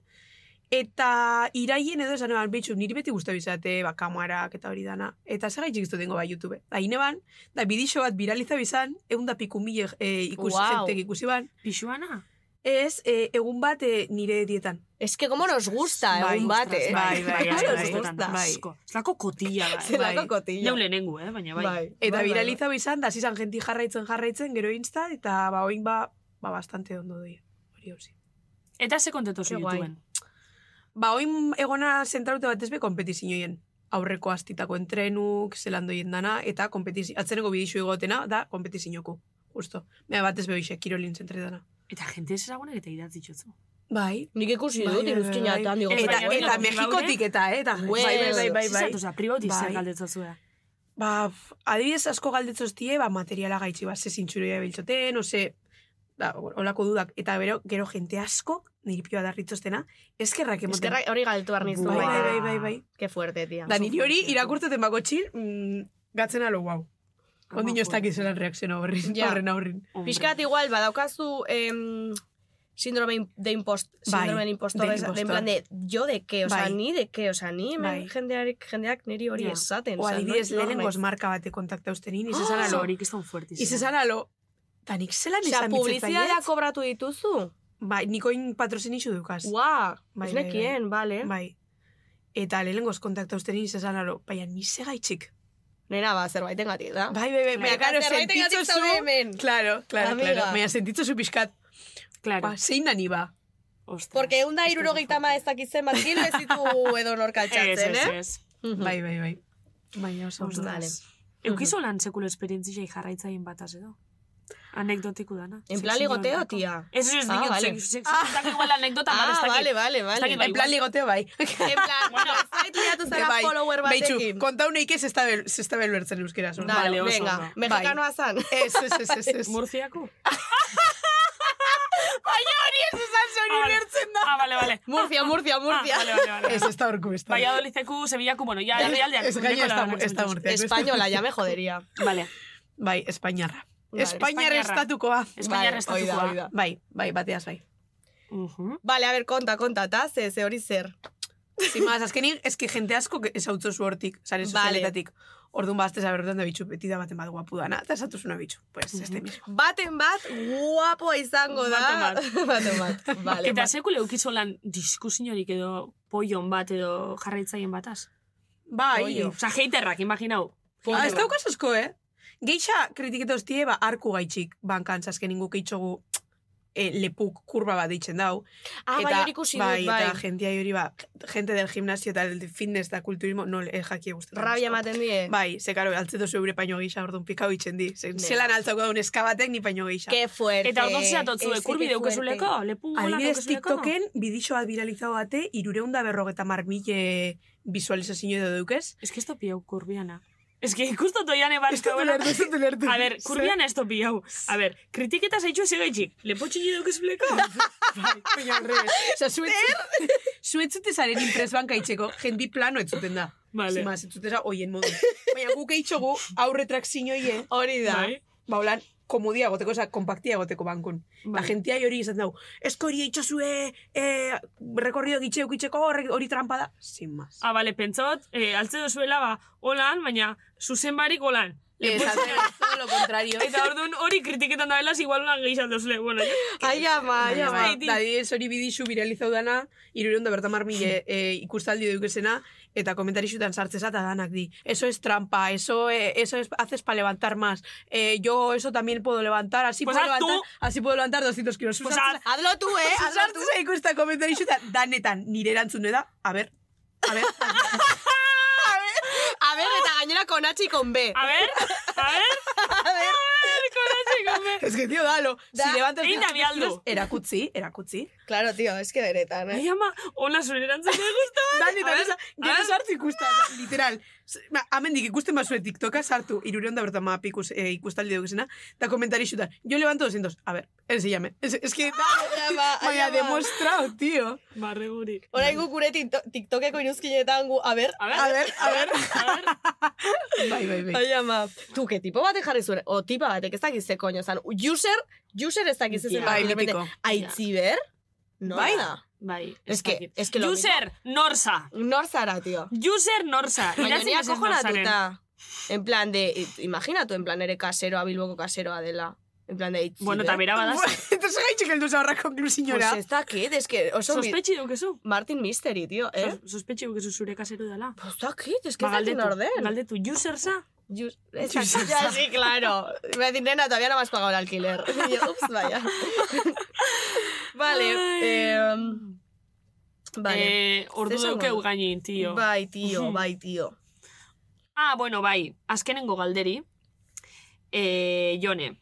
S8: eta iraien edo esan eban bitxu, niri beti guztu bizate, ba, kamarak eta hori dana. Eta zer gaitxik iztu dengo, ba, YouTube. Da, ineban, da, bidixo bat viraliza bizan, egun da piku mile eh, ikusi,
S2: Guau.
S8: jentek ikusi ban.
S6: Pixuana?
S8: Ez, eh, egun bat eh, nire dietan.
S2: Es que como nos gusta
S8: Bai,
S2: egun
S8: ostras,
S2: bate. eh? *laughs*
S8: bai, bai,
S2: Como
S8: bai,
S2: nos
S8: bai.
S2: gusta.
S8: bai.
S6: Asko. Ez lako kotilla, bai.
S2: Zelako
S8: Bai.
S2: kotilla.
S6: Neu lehenengu, eh? baina bai.
S8: Eta viraliza bizan, da, zizan jenti jarraitzen jarraitzen, gero insta, eta, ba, oin, ba, ba, bastante ondo doi. Hori hauzi.
S6: Eta ze kontento zu
S2: Ke guai.
S6: YouTubeen.
S8: Ba, oin egona zentraute batez be kompetizioen. Aurreko astitako entrenuk, zelan doien dana, eta kompetizio, atzeneko bidixu egotena, da kompetizioko. Justo. Baina batez be hoxe, kirolin zentre dana.
S6: Eta jente ez ezagunak eta idatzi txotzu.
S8: Bai.
S2: Nik ikusi
S8: Bai,
S2: dut,
S8: bai,
S2: iruzkina
S8: bai.
S2: eta handigo.
S8: Eta,
S6: baina
S8: eta
S6: bueno,
S8: Mexikotik eta, eh, eta.
S2: Well.
S8: Bai, bai, bai, bai, bai.
S6: Zizatu za, pribauti
S8: Bai.
S6: zer galdetza zuera.
S8: Ba, f- adibidez asko galdetzoztie, ba, materiala gaitxi, ba, ze zintxuroia biltzoten, ose, da, olako dudak. Eta bero, gero jente asko, niri pioa darritzoztena, eskerrak emoten.
S2: Eskerra hori galtu arnizu.
S8: Bai,
S2: baita.
S8: bai, bai, bai, bai.
S2: Ke fuerte, tia.
S8: Da, niri hori irakurtzeten bako txin, mm, gatzen alo, guau.
S6: Ama,
S8: Ondino ez
S6: joder.
S8: dakizelan reakziona horrin,
S2: Ja.
S8: horren aurrin.
S6: Hombre.
S2: Piskat igual, badaukazu em, síndrome in- de impost,
S8: Bai,
S2: síndrome del impostor,
S8: del
S2: esa- de en
S8: impostor.
S2: plan de, yo de qué, o sea,
S8: Bai.
S2: ni de qué, o sea, ni hemen
S8: Bai.
S2: jendeak, jendeak niri hori
S6: Ja.
S2: esaten.
S8: O
S2: osea,
S8: adibidez,
S2: no es
S8: lehenengoz
S2: normal.
S8: marka bate kontakta ustenin,
S6: Ese *gasps*
S8: izan
S6: zara
S8: alo.
S6: lo hori, que están fuertes.
S8: Izan zara alo. Da, nik zelan
S2: O sea,
S8: izan
S2: publizidadea
S8: bitzaiet?
S2: kobratu dituzu?
S8: Bai, nikoin patrozinitxu dukaz.
S2: Ua,
S8: Bai,
S2: ez
S8: bai,
S2: nekien, bale.
S8: Bai. Eta lehenengoz kontakta ustenin, izan alo. Baina, ni gaitxik.
S2: Nena, ba, zerbaiten gatik, da.
S8: Bai, bai, bai. Baina,
S2: Eta
S8: karo,
S2: zerbaitengatik
S8: sentitzo zu...
S2: zaude hemen.
S8: Claro, claro,
S2: Amiga.
S8: claro. Baina, sentitzo zu pixkat.
S6: Claro.
S8: Ba, zein da ni ba.
S6: Ostras,
S2: Porque egun da
S6: esto es muy
S2: irurogeita ma ez
S6: fuerte.
S2: dakitzen bat kilo ez ditu edo norkaltxatzen,
S6: Ez, ez,
S2: eh?
S6: ez.
S2: Mhm.
S8: Bai, bai, bai. Baina oso ondo.
S2: Vale.
S6: Eukizu lan sekulo esperientzia jarraitzaien bataz edo. Anekdotiku dana.
S2: En plan ligoteo, tia.
S6: Ez ez
S2: Ah,
S6: diot,
S2: vale.
S6: sex- sexualak igual anekdota bat, ez
S2: Ah,
S6: dakit.
S2: vale, vale, vale.
S6: dakit, bai,
S8: En plan ligoteo bai.
S2: En plan, *laughs* bueno, zait liatu zara
S8: Bai,
S2: follower
S8: Beitxu,
S2: batekin.
S8: konta uneik ez ez da bel- ez da belbertzen euskeraz. orduan.
S2: Dale,
S6: Vale, oso
S2: venga,
S6: ondo.
S2: mexikanoa zan.
S8: Ez, ez, ez, ez, *laughs* ez.
S6: Murciako?
S8: Zori bertzen da.
S6: Ah, vale, vale.
S2: *laughs* Murcia, Murcia,
S6: Ah,
S2: Murcia.
S6: vale, vale, vale.
S8: Ez, ez da horku, ez da.
S6: Valladolidzeku, Sevillaku, bueno,
S2: *laughs*
S6: ya
S8: Ez-
S6: herrialdeak.
S8: ez gaina ez da-
S6: Dekola
S8: ez da
S6: lanak
S8: murciako.
S2: Española, ya me jodería.
S6: Vale.
S8: Bai, Espainiarra.
S2: Vale,
S8: Espainiar
S6: Espainiarra.
S8: estatukoa.
S6: Espainiar
S2: Vale,
S6: estatukoa.
S2: oida, oida.
S8: Bai, bai, bateaz bai.
S6: Ujú.
S2: Vale, a ver, konta, konta, eta ze, ze hori zer.
S8: Zimaz, azkenin, eski jente asko ezautzo zu hortik, sare
S2: Vale.
S8: sozialetatik. Orduan ba, bazte zabertan da bitxu, beti da baten bat guapu dana, eta esatu zuna bitxu. Pues, este mismo.
S2: Baten bat, guapo izango da.
S6: Baten
S2: *laughs* Baten bat. Vale.
S6: Eta sekule eukizu lan diskusiorik edo poion bat edo jarraitzaien bataz.
S8: Bai,
S6: O sea, haterrak, imaginau.
S8: Ah, ez daukaz asko, eh? Geixa kritiketa hostie, ba, arku gaitxik, bankantz azkenin guk itxogu eh, lepuk kurba bat ditzen dau.
S2: Ah, bai, hori ikusi dut, bai.
S8: Eta jentia hori, ba, gente del gimnasio eta del fitness eta kulturismo, no, eh, jaki gustatzen.
S2: Rabia
S8: asko.
S2: ematen die.
S8: Bai, ze karo, altzeto zu eure paino geisha, orduan pikau itzen di. Ze-
S2: Ne.
S8: Zelan altzako daun eskabatek ni paino geisha.
S2: Qué fuerte.
S6: Eta orduan zeatotzu,
S2: Ese,
S6: ekurbi
S2: qué
S6: deukezuleko,
S2: fuerte.
S6: lepungo lan
S8: Adibidez,
S6: deukezuleko.
S8: TikToken bidixo bat viralizago bate, irureunda berrogeta marmile visualizazio edo dukez.
S6: Es que esto pillau kurbiana. Es que justo toian barko.
S8: ulertu.
S6: A ver, kurbiana esto pillau. A ver, kritiketa zaitxu ez egaitxik. Lepo txini
S8: *laughs*
S6: deukezuleko?
S8: Osa, *laughs* zuetzu, zuetzute zaren impres banka itxeko, jendi plano etzuten da.
S6: Vale.
S8: Zimaz, etzute za, oien modu. Baina guk eitxogu, aurretrak zinioie,
S2: Hori da.
S6: Bai.
S8: ba, holan, komodia goteko, oza, kompaktia goteko bankun. Ba.
S6: Bai.
S8: Agentia hori izan dugu, esko hori eitxozue, eh, rekorrido gitxe eukitzeko, horre- hori trampa da. Sin más.
S6: Ah, vale, pentsot, eh, altze dozuela, ba, holan, baina zuzen barik holan.
S8: Ez, al revés, todo lo contrario.
S6: Eta orduan hori kritiketan da belaz, igual holan gehizan dozule. Bueno, ya.
S2: Ai, ama,
S6: Bai,
S2: ai,
S8: Baina,
S2: ama.
S8: ba, da, adibidez, hori bidizu viralizau dana, irureun da bertamar
S6: *laughs*
S8: mile e, ikustaldi dukesena, eta komentarixutan sartzeza eta danak di. Eso es trampa, eso, eh, eso es, haces para levantar más. Eh, yo eso también puedo levantar, así,
S6: Pues
S8: puedo,
S6: haz tú.
S8: levantar, así puedo levantar 200 kilos.
S6: Pues
S8: Sartzeza-
S2: Hazlo tú, eh? Hazlo tú.
S8: sartzeza ikusta komentarixutan, danetan, nire erantzune da, a ber, a ber,
S2: A ver, eta gainera con H y con B.
S6: A ver, a ver,
S2: *laughs* A ver.
S8: *laughs* es que tío, dalo.
S2: Da,
S8: si levantas
S6: egin da
S8: 200 kilos,
S6: bialdu.
S8: erakutzi, erakutzi.
S2: Claro, tío, es que beretan, eh?
S6: Ai, ama, hola zure erantzun me gusta. A
S8: Danetan,
S6: ver,
S8: esa,
S6: a
S8: gero
S6: ver.
S8: sartu ikusta, literal. S- ba, Hemendik ikusten bazue TikToka sartu, irureon da bertan mapi ikus, eh, ikustaldi dugusena, eta komentari xutan, yo levanto 200, a ver, enséñame. Es, es que,
S6: Ah,
S2: Ai, ama, ai,
S8: vaya,
S2: ama.
S8: demostrado, tío.
S6: Barre guri.
S2: Orain guk gure tikto- tiktokeko iruzkinetan gu, a ver,
S6: A ver,
S8: A ver, a ver.
S6: a ver.
S8: Bai, bai, bai.
S2: Ai, ama. Tu, que tipo batek jarri zuen, o tipa batek ez dakiz ze koño zan. User, user ez dakiz
S6: Ja.
S2: ze
S8: Bai, mitiko.
S2: Aitziber? No,
S6: Bai.
S2: da.
S6: Bai,
S2: Es que,
S6: dakit.
S2: es que lo
S6: User, norsa.
S2: mismo- Nor zara, tío.
S6: User, norsa.
S2: Baina ni
S6: Idatzi mesedez norsaren.
S2: acojonatuta. En plan de, i- imaginatu, en plan ere kaseroa, bilboko kaseroa dela. En plan de aitziber.
S6: Bueno, eta bera badaz.
S8: Entonces gaitxek heldu zaurra konklusiñora.
S2: Pues ez dakit, es que oso... mi-
S6: Sospetxi dukezu.
S2: Martin Mystery, tío, eh?
S6: Sos- Sospetxi dukezu zure kaseru dela.
S2: Pues ez dakit, es que
S6: Ba,
S2: ez dakit norden.
S6: galdetu, user za?
S2: Yus- esa- Ya, sí, claro. Me decir, nena, todavía no me has pagado el alquiler. Y yo, ups, vaya. *laughs* vale.
S6: Ay.
S2: em, vale.
S6: Eh, ordu
S2: Zer
S6: duke
S2: esango du?
S6: ugainin, tio.
S2: bai, tío, bai, tío.
S6: Ah, bueno, bai, azkenengo galderi. E, jone,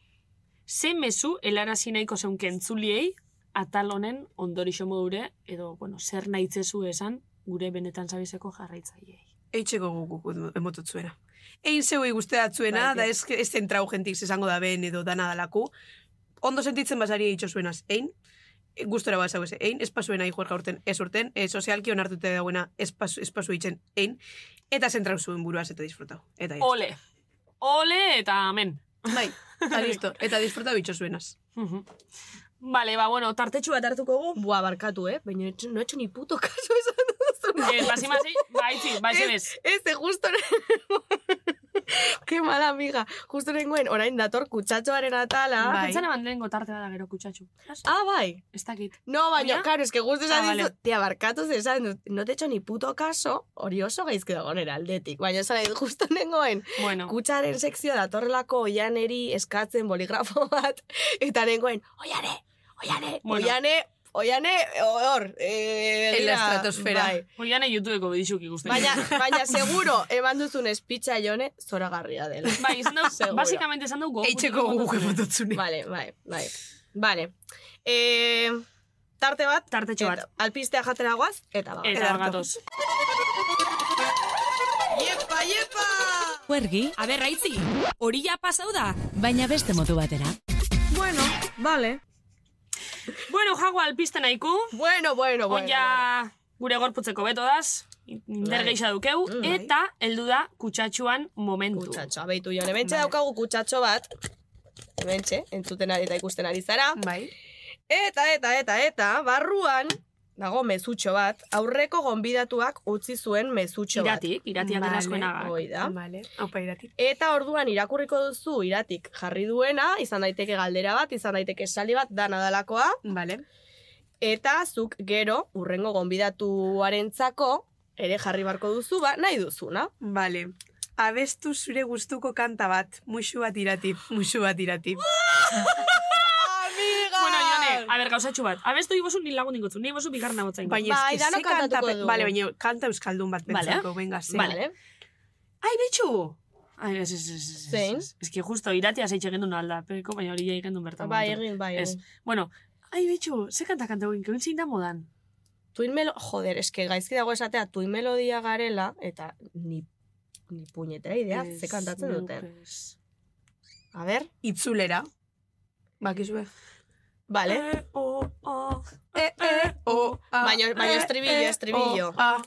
S6: ze mezu helarazi nahiko zeunke entzuliei atal honen ondorixo modure, edo, bueno, zer nahitzezu esan gure benetan zabizeko jarraitzaileei.
S8: Eitxeko guk emotut zuena. Egin zeuei guzteat zuena,
S2: Bai,
S8: da ez, ez zentrau jentik izango da ben edo dana dalaku, ondo sentitzen basari eitxo zuenaz, ein, gustora basau ez, ein, espasuen ahi juerga urten, ez urten, e, sozialki onartute dagoena espasu, espasu eitzen, ein, eta zentrau zuen buruaz eta disfrutau. Eta ya.
S6: Ole. Ole eta amen. *laughs*
S8: Bai, eta listo, eta disfrutau eitxo zuenaz.
S6: Mhm. Vale, ba, bueno, tartetxu bat hartuko *laughs* gu.
S2: Bua, barkatu, eh? Baina etx- no he hecho ni puto *laughs* caso esan duzuna.
S6: Eh, basi, basi, baitzi, baitzi bez.
S2: Ez, ze justo *laughs* Qué mala amiga. Justo nengoen, orain dator kutsatxoaren atala.
S8: Bai.
S6: Pentsan eban lehenko tarte bada gero kutsatxu.
S2: Ah, bai.
S6: Ez dakit.
S2: No, baina,
S6: Baina?
S2: claro, es que justo esan
S6: Ah,
S2: ah,
S6: vale.
S2: dizu, tia, barkatu ze esan dut, no te echo ni puto caso, hori oso gaizki dago nera aldetik. Baina, esan dut, justo nengoen,
S6: Bueno,
S2: kutsaren sekzio datorrelako oianeri eskatzen boligrafo *laughs* bat, eta nengoen, oiane, oiane,
S6: Bueno.
S2: oiane, oiane, hor, eh,
S8: En la
S2: dira,
S8: estratosfera.
S2: bai.
S6: oian YouTubeko bidixuk ikusten.
S2: Baina, baina seguro, eman duzun espitza jone, zoragarria
S6: *laughs*
S2: dela.
S6: Bai, izan dau,
S2: Seguro.
S6: basikamente izan dau gogo.
S8: Eitxeko
S6: gutxiko
S8: guke
S6: kontatzen.
S8: bototzune.
S2: Vale, bai, bai. Vale. Eh, tarte bat,
S6: Tartetxo bat.
S2: eta, alpistea jatera guaz, eta ba.
S6: Eta
S8: Ederto.
S6: gatoz.
S5: Huergi,
S7: Aber, raitzi, hori ja pasau da.
S5: baina beste modu batera.
S2: Bueno, vale.
S6: Bueno, jago alpiste naiku.
S2: Bueno, bueno, bueno.
S6: Oia gure gorputzeko beto daz. Inder geixa dukeu.
S2: Mm, bai.
S6: Eta, heldu da, kutsatxuan momentu.
S2: Kutsatxo, abeitu jone. Bentxe
S6: Vale.
S2: daukagu kutsatxo bat. Bentxe, entzuten ari eta ikusten ari zara.
S6: Bai.
S2: Eta, eta, eta, eta, barruan, dago mezutxo bat, aurreko gonbidatuak utzi zuen mezutxo bat.
S6: Iratik, iratiak vale.
S2: Hoi da.
S8: Vale, haupa irati.
S2: Eta orduan irakurriko duzu iratik jarri duena, izan daiteke galdera bat, izan daiteke sali bat, dana dalakoa,
S8: Vale.
S2: eta zuk gero urrengo gonbidatuarentzako ere jarri barko duzu, ba, nahi duzuna.
S8: Vale. Abestu zure gustuko kanta bat, musu bat irati, musu bat irati.
S2: Amiga!
S6: Bueno, Jone, a ber, gauzatxu bat. Abestu ibosu ni lagun dingotzu, ni ibosu bigarna botzain.
S8: Baina
S2: Bai,
S8: eske
S2: danok
S8: ze kanta,
S2: kantatuko
S8: pe-
S2: dugu.
S8: Vale, baina kanta euskaldun bat
S6: Vale.
S8: pentsako, venga, ze.
S6: Vale. Ai, betxu! Ai, ez, ez, ez, ez, ez.
S2: Zein?
S6: ez. Ez que justo iratia zeitxe gendun alda, peko, baina hori egin gendun bertan.
S2: Bai,
S6: momentu.
S2: egin, bai,
S6: Ez.
S2: egin.
S6: Bueno, ai, betxu, ze kanta kanta egin, kegin zein da modan.
S2: Tuin melo... Joder, eske gaizki dago esatea, tuin melodia garela, eta ni, ni puñetera idea,
S6: Ez,
S2: ze kantatzen
S6: neuk
S2: duten.
S6: ez.
S2: A ber,
S8: Itzulera. Bakizue.
S2: vale.
S6: Eh, oh, oh,
S8: E, e, o, a,
S2: Baina- baina
S8: e,
S2: estribillo,
S8: e,
S2: estribillo.
S8: o, a.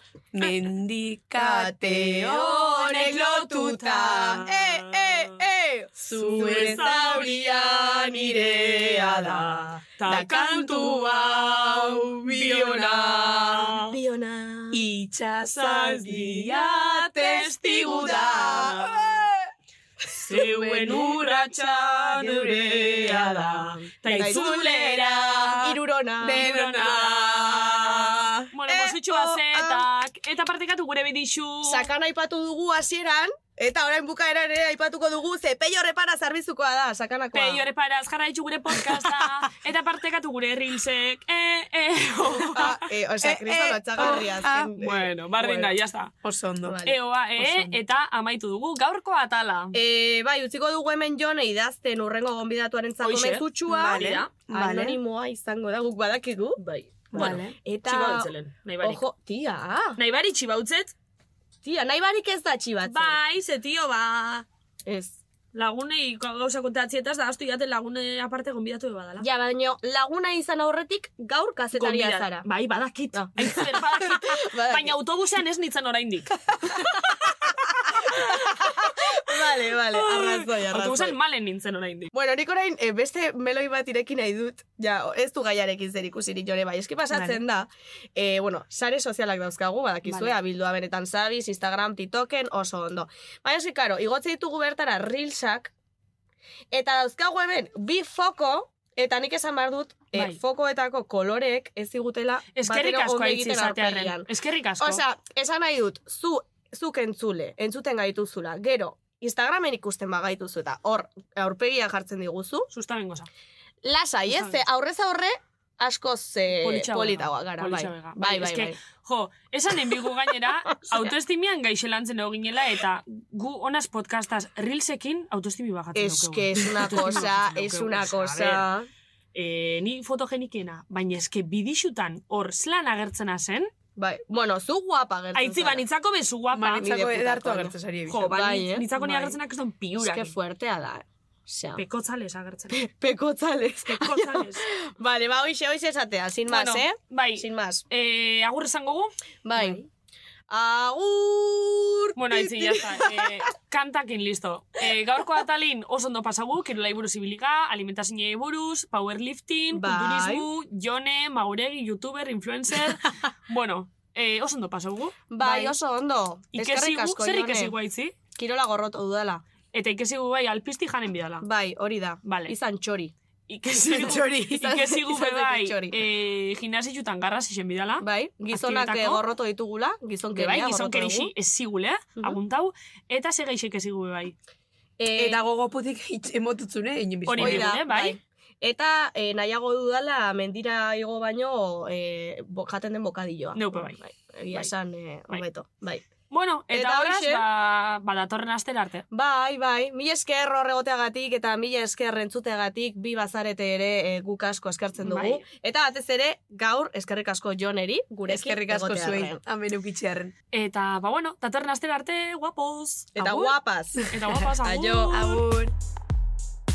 S8: Mendikate honek lotuta. E,
S2: Eh, eh, eh!
S8: Zure zauria nirea da. Ta kantu hau biona.
S2: Biona.
S8: Itxasazdia testigu da. Zeuen urratxa nurea da. Ta itzulera
S2: Irurona.
S8: denona.
S6: Bueno,
S2: Eh,
S6: mozutxu
S2: oh,
S6: azetak. Eta partekatu gure bidixu.
S2: Sakan aipatu dugu hasieran, eta orain bukaera ere aipatuko dugu, ze peio repara zerbizukoa da, sakanakoa.
S6: Peio ere paraz, jarraitxu gure *laughs* podcasta. Eta partekatu gure reelsek.
S2: E,
S6: Eh, eh, oh.
S2: Ah, eh, osea,
S8: Eh,
S2: Kristo
S8: eh,
S2: lotxagarria
S8: oh,
S2: azken, eh,
S6: *laughs* ah, Bueno, bardin da,
S2: bueno.
S6: jazta.
S8: Oso ondo. Eh,
S2: Vale.
S6: Eoa, e,
S8: oso.
S6: eta amaitu dugu gaurko atala.
S2: Eh, bai, utziko dugu hemen jone idazten urrengo gonbidatuaren zako
S6: Hoxe.
S2: mezutxua.
S6: Vale,
S8: vale.
S2: Anonimoa izango da, guk badakigu. Bai.
S6: Vale.
S2: Eta...
S6: Txibautzelen, nahi barik.
S2: Ojo, tia, ah,
S6: Nahi barik txibautzet?
S2: tia, nahi barik ez da txibatzen.
S6: Bai, ze tio, ba.
S2: Ez.
S6: Lagunei gauza kontatzietaz da, astu jaten lagune aparte gonbidatu eba dala.
S2: Ja, baino, laguna izan aurretik gaur kazetaria
S6: Gonbidat-
S2: zara.
S6: Bai, badakit.
S2: Ah.
S6: Hain
S2: *laughs*
S6: zuzen, badakit.
S2: Badakit.
S6: Baina autobusean ez nintzen oraindik.
S2: Vale, vale, *laughs* arrazoi,
S6: Autobusean malen nintzen oraindik.
S2: Bueno, nik orain eh, beste meloi bat ireki nahi dut, ja, o- ez du gaiarekin zer ikusirik jore, bai, eski pasatzen da, eh, bueno, sare sozialak dauzkagu, badakizue,
S6: Vale.
S2: abildua benetan zabiz, Instagram, TikToken, oso ondo. Baina, eski, karo, igotze ditugu bertara reelsak, eta dauzkagu hemen, bi foko, eta nik esan behar dut, eh,
S6: Bai.
S2: fokoetako koloreek ez digutela
S6: Eskerrik
S2: batera
S6: asko
S2: ondo
S6: aitzi
S2: egiten
S6: izatearen.
S2: aurpegian.
S6: Eskerrik asko.
S2: Osea, esan nahi dut, zu, zuk entzule, entzuten gaituzula, gero, Instagramen ikusten bagaituzu eta hor aurpegia jartzen diguzu,
S6: Sustamen goza.
S2: lasai, ez,
S6: Sustamen.
S2: ze aurrez aurre askoz ze
S6: Politxagoa
S2: politagoa
S6: da,
S2: gara, bai.
S6: politxagoa da.
S2: Bai,
S6: Bai,
S2: bai,
S6: eske-
S2: bai.
S6: Jo, esan enbigu
S2: *laughs*
S6: gainera, autoestimian gaixelantzen eginela eta gu honaz podcastaz rilsekin autoestimi bagatzen
S2: Es que es
S6: *laughs*
S2: una cosa, es una cosa.
S6: E, ni fotogenikena, baina eske bidixutan hor zelan agertzena zen,
S2: Bai, bueno, zu guapa gertzen.
S6: aitzi
S2: zara.
S6: banitzako mezu guapa.
S2: Manitza-
S8: Manitzako
S2: Nire
S8: edartu
S2: putako,
S8: agertzen zari
S6: Jo,
S8: ebizan.
S6: ba,
S2: Bai, eh?
S6: nitzako ni
S2: Bai.
S6: agertzen akizton
S2: Es
S6: piurak.
S2: que fuertea da. eh.
S4: Osea,
S6: Pekotzales
S2: *laughs*
S6: agertzen. *laughs*
S2: Pekotzales.
S6: Pekotzales.
S2: *laughs* Vale, ba, hoxe, hoxe esatea, sin más,
S6: Bueno,
S2: eh?
S6: Bai,
S2: Sin más.
S6: eh, agur esango gu?
S2: Bai. Agur!
S6: Bueno, haitzi, jazta. Eh, kantakin, listo. Eh, gaurko atalin oso ondo pasagu, kirolai buruz ibiliga, alimentazinei buruz, powerlifting,
S2: Bai.
S6: kulturismo, jone, mauregi, youtuber,
S2: *laughs*
S6: influencer... bueno, eh, oso ondo pasagu.
S2: Bai, oso ondo.
S6: Ikesi
S2: Eskerrik
S6: gu,
S2: asko,
S6: zer
S2: Ione.
S6: ikesi gu haitzi?
S2: Kirola gorroto dudala.
S6: Eta ikesi gu bai, alpizti janen bidala.
S2: Bai, hori da.
S6: Vale.
S2: Izan txori.
S6: *laughs* Ikesi gu,
S2: Txori.
S6: ikesi gu
S2: Izan
S6: be bai,
S2: zaitez txori.
S6: eh, gimnasiutan garras isen bidala.
S2: Bai, gizonak eh,
S6: Aktibetako.
S2: gorroto ditugula,
S6: Ah, Be
S2: gizonkeria
S6: bai, gizon
S2: gorroto
S6: kerixi
S2: dugu.
S6: ez zigule,
S2: Mhm.
S6: aguntau, eta ze gaixek ez zigu be bai.
S2: Eh,
S8: *laughs* Eta gogoputik hitz emotutzune,
S6: Hori
S8: egin bizkoa.
S2: Hori da,
S6: digune, bai.
S2: Eta eh, nahiago dudala mendira igo baino eh, bo- jaten den bokadilloa.
S6: Neupe bai.
S2: Egia
S6: Bai.
S2: esan, eh,
S6: Bai.
S2: hobeto. Bai.
S6: Bueno, eta,
S2: Eta
S6: horaz,
S2: hoxe-
S6: ba, ba datorren astera arte.
S2: Bai, bai, mila esker horregoteagatik eta mila esker entzuteagatik bi bazarete ere e, guk asko eskertzen dugu.
S6: Bai.
S2: Eta batez ere, gaur eskerrik asko Joneri, gurekin
S8: Eskerrik asko
S2: egotearren.
S8: zuei, amen eukitxearen.
S6: Eta, ba bueno, datorren astera arte, guapoz.
S2: Eta
S6: Agur.
S2: guapaz.
S6: Eta guapoz, agur.
S2: *laughs* Aio, agur.
S8: Agur.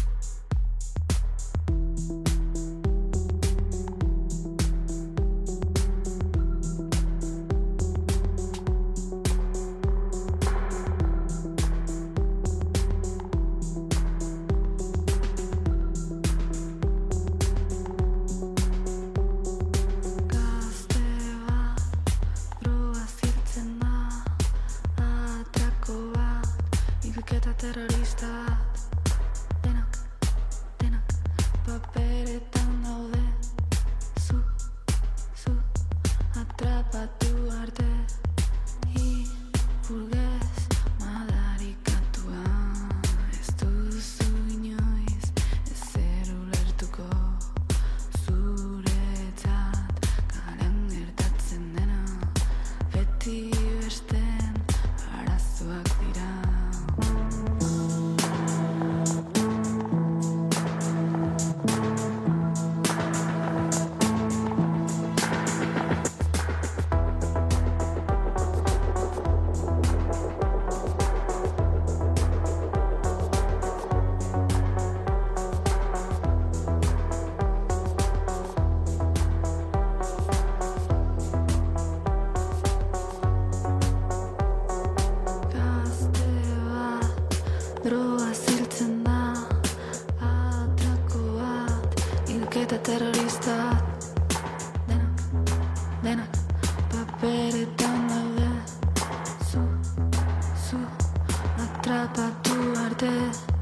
S11: Atrapa tu arte